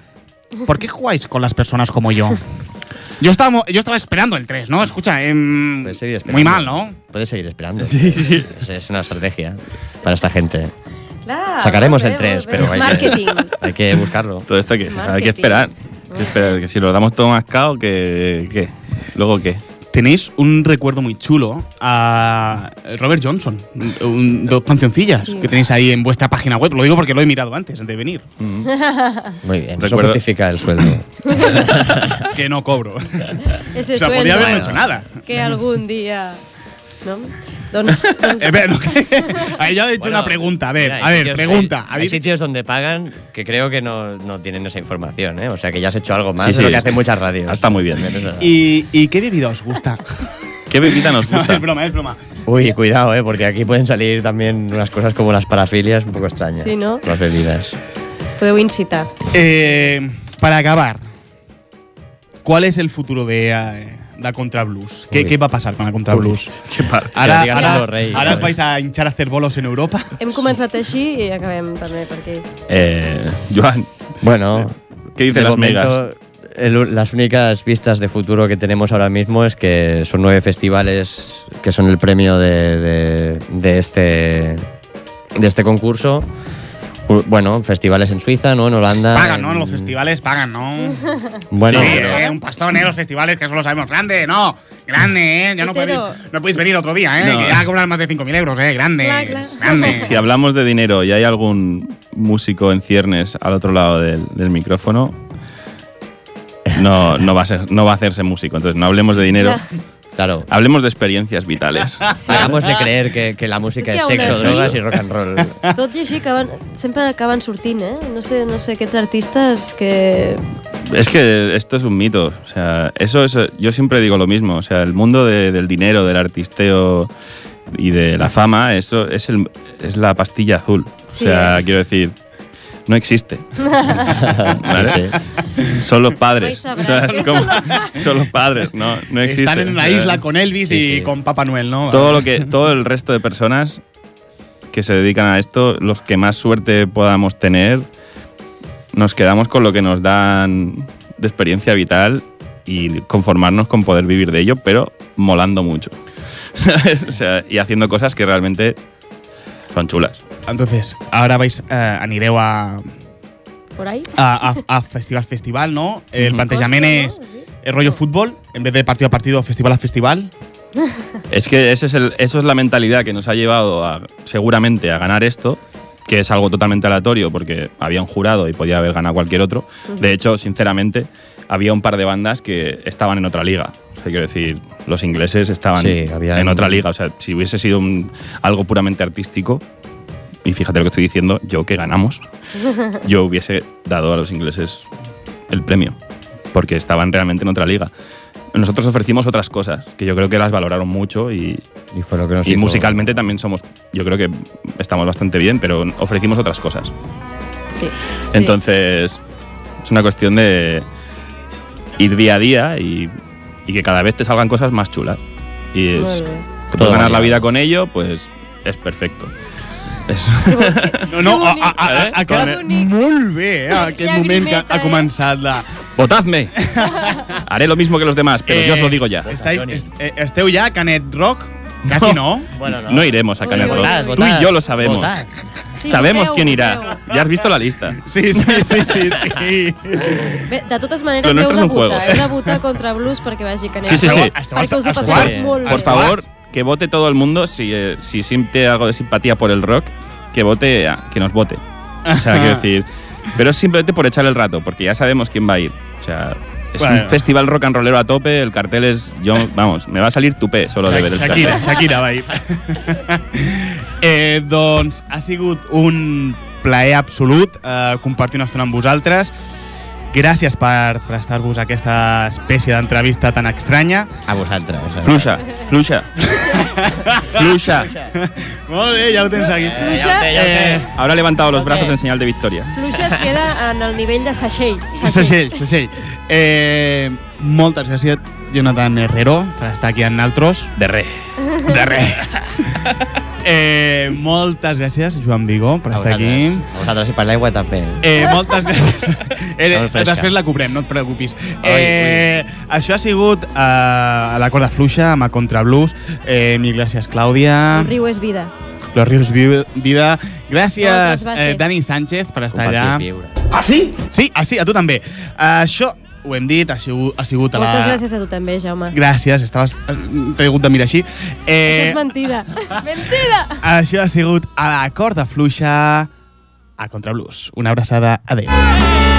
Speaker 3: ¿Por qué jugáis con las personas como yo? Yo estaba, yo estaba esperando el 3, ¿no? Escucha, em,
Speaker 2: Puedes seguir Pues esperando.
Speaker 3: muy mal, ¿no?
Speaker 2: Puedes seguir esperando. Sí, sí. Es, es una estrategia para esta gente.
Speaker 4: Ah, Clar,
Speaker 2: Sacaremos
Speaker 4: molt
Speaker 2: el 3,
Speaker 4: bé, molt bé.
Speaker 2: pero
Speaker 4: És
Speaker 2: hay
Speaker 4: màrqueting.
Speaker 2: que, hay que buscarlo.
Speaker 1: Todo esto que hay
Speaker 4: Marketing.
Speaker 1: que esperar. Hay que esperar, que si lo damos todo mascado, que qué? Luego qué?
Speaker 3: Tenéis un recuerdo muy chulo a Robert Johnson, un- dos cancioncillas
Speaker 4: Sí.
Speaker 3: que tenéis ahí en vuestra página web. Lo digo porque lo he mirado antes, antes de venir.
Speaker 2: Muy bien.
Speaker 1: Recuerdo-
Speaker 2: Eso justifica el sueldo.
Speaker 3: Que no cobro.
Speaker 4: Ese
Speaker 3: O sea,
Speaker 4: sueldo
Speaker 3: podía haber no hecho nada.
Speaker 4: Que algún día... No? Doncs,
Speaker 3: Eh,
Speaker 4: doncs
Speaker 3: pero no, que- Ahí ya he hecho una pregunta. A ver,
Speaker 2: mira,
Speaker 3: a
Speaker 2: hay
Speaker 3: ver,
Speaker 2: sitios-
Speaker 3: pregunta.
Speaker 2: Hay, hay
Speaker 3: ¿Habéis-
Speaker 2: sitios donde pagan que creo que no, no tienen esa información, ¿eh? O sea, que ya has hecho algo más
Speaker 1: Sí,
Speaker 2: de lo
Speaker 1: sí.
Speaker 2: que hacen muchas radios.
Speaker 1: Ah, está muy bien.
Speaker 3: ¿Y, y qué bebida os gusta?
Speaker 1: ¿Qué bebida nos
Speaker 3: No,
Speaker 1: gusta?
Speaker 3: es broma, es broma.
Speaker 2: Uy, cuidado, ¿eh? Porque aquí pueden salir también unas cosas como las parafilias un poco extrañas.
Speaker 4: Sí, ¿no?
Speaker 2: Las bebidas.
Speaker 4: podeu incitar.
Speaker 3: Eh, para acabar, ¿cuál es el futuro de eh, la Contra Blues? ¿Qué,
Speaker 2: Uy.
Speaker 3: qué va a pasar con la Contra Blues?
Speaker 2: Ya,
Speaker 3: Ahora,
Speaker 2: dígame
Speaker 3: ahora-
Speaker 2: lo, rey.
Speaker 3: ahora os vais a hinchar a hacer bolos en Europa.
Speaker 4: Hem començat així i acabem també per aquí.
Speaker 1: Eh, Joan,
Speaker 2: Bueno,
Speaker 1: ¿qué dicen
Speaker 2: de
Speaker 1: las megas?
Speaker 2: momento, el- las únicas vistas de futuro que tenemos ahora mismo es que son nueve festivales que son el premio de, de- de este, de este concurso. U- Bueno, festivales en Suiza, ¿no? En Holanda.
Speaker 3: Pagan, ¿no?
Speaker 2: en-
Speaker 3: Los festivales pagan, ¿no?
Speaker 2: Bueno,
Speaker 3: sí,
Speaker 2: pero-
Speaker 3: eh, un pastón, eh, los festivales, que eso lo sabemos. Grande, no, grande, eh. Ya no podéis,
Speaker 4: Hetero.
Speaker 3: no podéis venir otro día, eh.
Speaker 1: No.
Speaker 3: Que ya cobrar más de 5.000 euros, eh. Grande,
Speaker 4: Clar, clar.
Speaker 3: grande.
Speaker 1: Si hablamos de dinero y hay algún músico en ciernes al otro lado del, del micrófono, no, no, va a ser, no va a hacerse músico. Entonces, no hablemos de dinero,
Speaker 2: claro.
Speaker 1: hablemos de experiencias vitales.
Speaker 2: Hagamos de creer que, que la música
Speaker 4: Es
Speaker 2: es,
Speaker 4: que aún
Speaker 2: sexo,
Speaker 4: así-
Speaker 2: drogas y rock and roll.
Speaker 4: Tot i així acaben, sempre acaben sortint, eh? No sé, no sé, aquests artistes que...
Speaker 1: Es que esto es un mito. O sea, eso es. Yo siempre digo lo mismo. O sea, el mundo de- del dinero, del artisteo y de la fama, eso es, el, es la pastilla azul. O
Speaker 4: Sí,
Speaker 1: sea,
Speaker 4: es.
Speaker 1: quiero decir, no existe. ¿Vale?
Speaker 2: Sí, sí.
Speaker 1: Son los padres.
Speaker 4: Ay, sabrás
Speaker 1: O sea, es
Speaker 4: que
Speaker 1: como-
Speaker 4: son los
Speaker 1: son los padres, no, no existe.
Speaker 3: Están en una
Speaker 1: O sea,
Speaker 3: isla con Elvis
Speaker 2: Sí,
Speaker 3: y
Speaker 2: sí.
Speaker 3: con Papá Noel, ¿no?
Speaker 1: todo lo que todo el resto de personas que se dedican a esto, los que más suerte podamos tener, nos quedamos con lo que nos dan de experiencia vital y conformarnos con poder vivir de ello, pero molando mucho. O sea, y haciendo cosas que realmente son chulas.
Speaker 3: Entonces, ahora vais, eh, anireu a,
Speaker 4: Por ahí?
Speaker 3: a, a- a festival festival, ¿no? El
Speaker 1: Ujú.
Speaker 3: plantejament es,
Speaker 4: Hòstia, no?
Speaker 3: el rollo fútbol, en vez de partido a partido, festival a festival.
Speaker 1: Es que ese es el- eso es la mentalidad que nos ha llevado a, seguramente a ganar esto, que es algo totalmente aleatorio porque había un jurado y podía haber ganado cualquier otro. De hecho, sinceramente, había un par de bandas que estaban en otra liga. O sea, quiero decir, los ingleses estaban
Speaker 2: Sí, había
Speaker 1: en
Speaker 2: un-
Speaker 1: otra liga. O sea, si hubiese sido un- algo puramente artístico, y fíjate lo que estoy diciendo, yo que ganamos, yo hubiese dado a los ingleses el premio, porque estaban realmente en otra liga. Nosotros ofrecimos otras cosas, que yo creo que las valoraron mucho y,
Speaker 2: Y fue lo que nos
Speaker 1: y
Speaker 2: hizo-
Speaker 1: musicalmente también somos, yo creo que estamos bastante bien, pero ofrecimos otras cosas.
Speaker 4: Sí.
Speaker 1: Entonces, es una cuestión de ir día a día y, y que cada vez te salgan cosas más chulas. Y
Speaker 4: Molt
Speaker 1: es,
Speaker 4: bé.
Speaker 1: te
Speaker 2: Todo
Speaker 1: puedes ganar la
Speaker 2: variado.
Speaker 1: vida con ello, pues es perfecto. Es-
Speaker 3: No, no,
Speaker 4: Que
Speaker 3: ha, ha, ha,
Speaker 1: bonic.
Speaker 3: ha
Speaker 1: Que
Speaker 3: quedat
Speaker 4: bonic.
Speaker 3: molt bé eh, aquest moment que
Speaker 4: Llagrimeta,
Speaker 3: ha
Speaker 4: eh?
Speaker 3: començat la...
Speaker 1: ¡Votadme! Haré lo mismo que los demás, pero yo os
Speaker 2: Eh,
Speaker 1: lo digo ya.
Speaker 3: Estáis, est eh, esteu ja a Canet Rock? Casi no.
Speaker 2: Bueno,
Speaker 1: No iremos a
Speaker 4: Uy,
Speaker 1: Canet
Speaker 4: uy,
Speaker 1: Rock.
Speaker 4: votad,
Speaker 1: Tú y yo lo sabemos.
Speaker 2: Votad.
Speaker 4: Sí,
Speaker 1: Sabemos
Speaker 4: voteu,
Speaker 1: quién
Speaker 4: voteu.
Speaker 1: irá. Ya has visto la lista.
Speaker 3: Sí, sí, sí, sí, sí.
Speaker 4: Bé, de totes maneres,
Speaker 1: Lo
Speaker 4: heu
Speaker 1: nuestro
Speaker 4: de
Speaker 1: és un juego.
Speaker 4: votar. Heu de votar eh? contra Blues perquè vagi canet.
Speaker 1: Sí, sí, sí.
Speaker 4: Perquè us ho
Speaker 3: Esteu- eh?
Speaker 4: passareu
Speaker 1: esteu-
Speaker 4: molt bé.
Speaker 1: Por favor, que vote todo el mundo si, eh, si siente algo de simpatía por el rock, que vote, a- que nos vote. O sea, quiero decir, pero es simplemente por echar el rato, porque ya sabemos quién va a ir. O sea, es
Speaker 3: Bueno.
Speaker 1: un festival rock and rollero a tope, el cartel es, yo, vamos, me va a salir tupé solo de ver el cartel.
Speaker 3: Shakira, Shakira, va dir. eh, doncs ha sigut un plaer absolut eh, compartir una estona amb vosaltres. Gràcies per prestar-vos aquesta espècie d'entrevista tan estranya.
Speaker 2: A vosaltres. a vosaltres.
Speaker 1: Flucha, flucha. flucha.
Speaker 3: Molt bé, ja ho tens aquí.
Speaker 4: Fluixa,
Speaker 3: Eh,
Speaker 1: Ahora ha levantado los brazos en señal de victoria.
Speaker 4: fluixa es queda en el nivell de Seixell.
Speaker 3: Segell, segell. Eh, moltes gràcies, Jonathan Herrero, per estar aquí amb nosaltres.
Speaker 1: De re.
Speaker 3: De res. eh, moltes gràcies, Joan Vigo, per
Speaker 2: A
Speaker 3: estar aquí.
Speaker 2: vosaltres. A vosaltres i per l'aigua també.
Speaker 3: Eh, moltes gràcies. Eh,
Speaker 2: Molt fresca.
Speaker 3: després la cobrem, no et preocupis.
Speaker 2: Ai,
Speaker 3: Eh, això ha sigut eh, a la corda fluixa amb a Contra Blues. Eh, mil gràcies, Clàudia.
Speaker 4: El riu és vida.
Speaker 3: Los Rius Vi- Vida. Gràcies,
Speaker 4: Moltes gràcies.
Speaker 3: eh, Dani Sánchez, per estar allà.
Speaker 2: Compartir viure.
Speaker 3: Sí, ah, sí, a tu també. Eh, això ho hem dit, ha sigut, ha sigut a la...
Speaker 4: Moltes gràcies a tu també, Jaume.
Speaker 3: Gràcies, estaves... eh, T'he hagut de mirar així.
Speaker 4: Això
Speaker 3: Eh,
Speaker 4: és mentida. mentida!
Speaker 3: això ha sigut a la corda fluixa a Contra Blues. Una abraçada, adeu.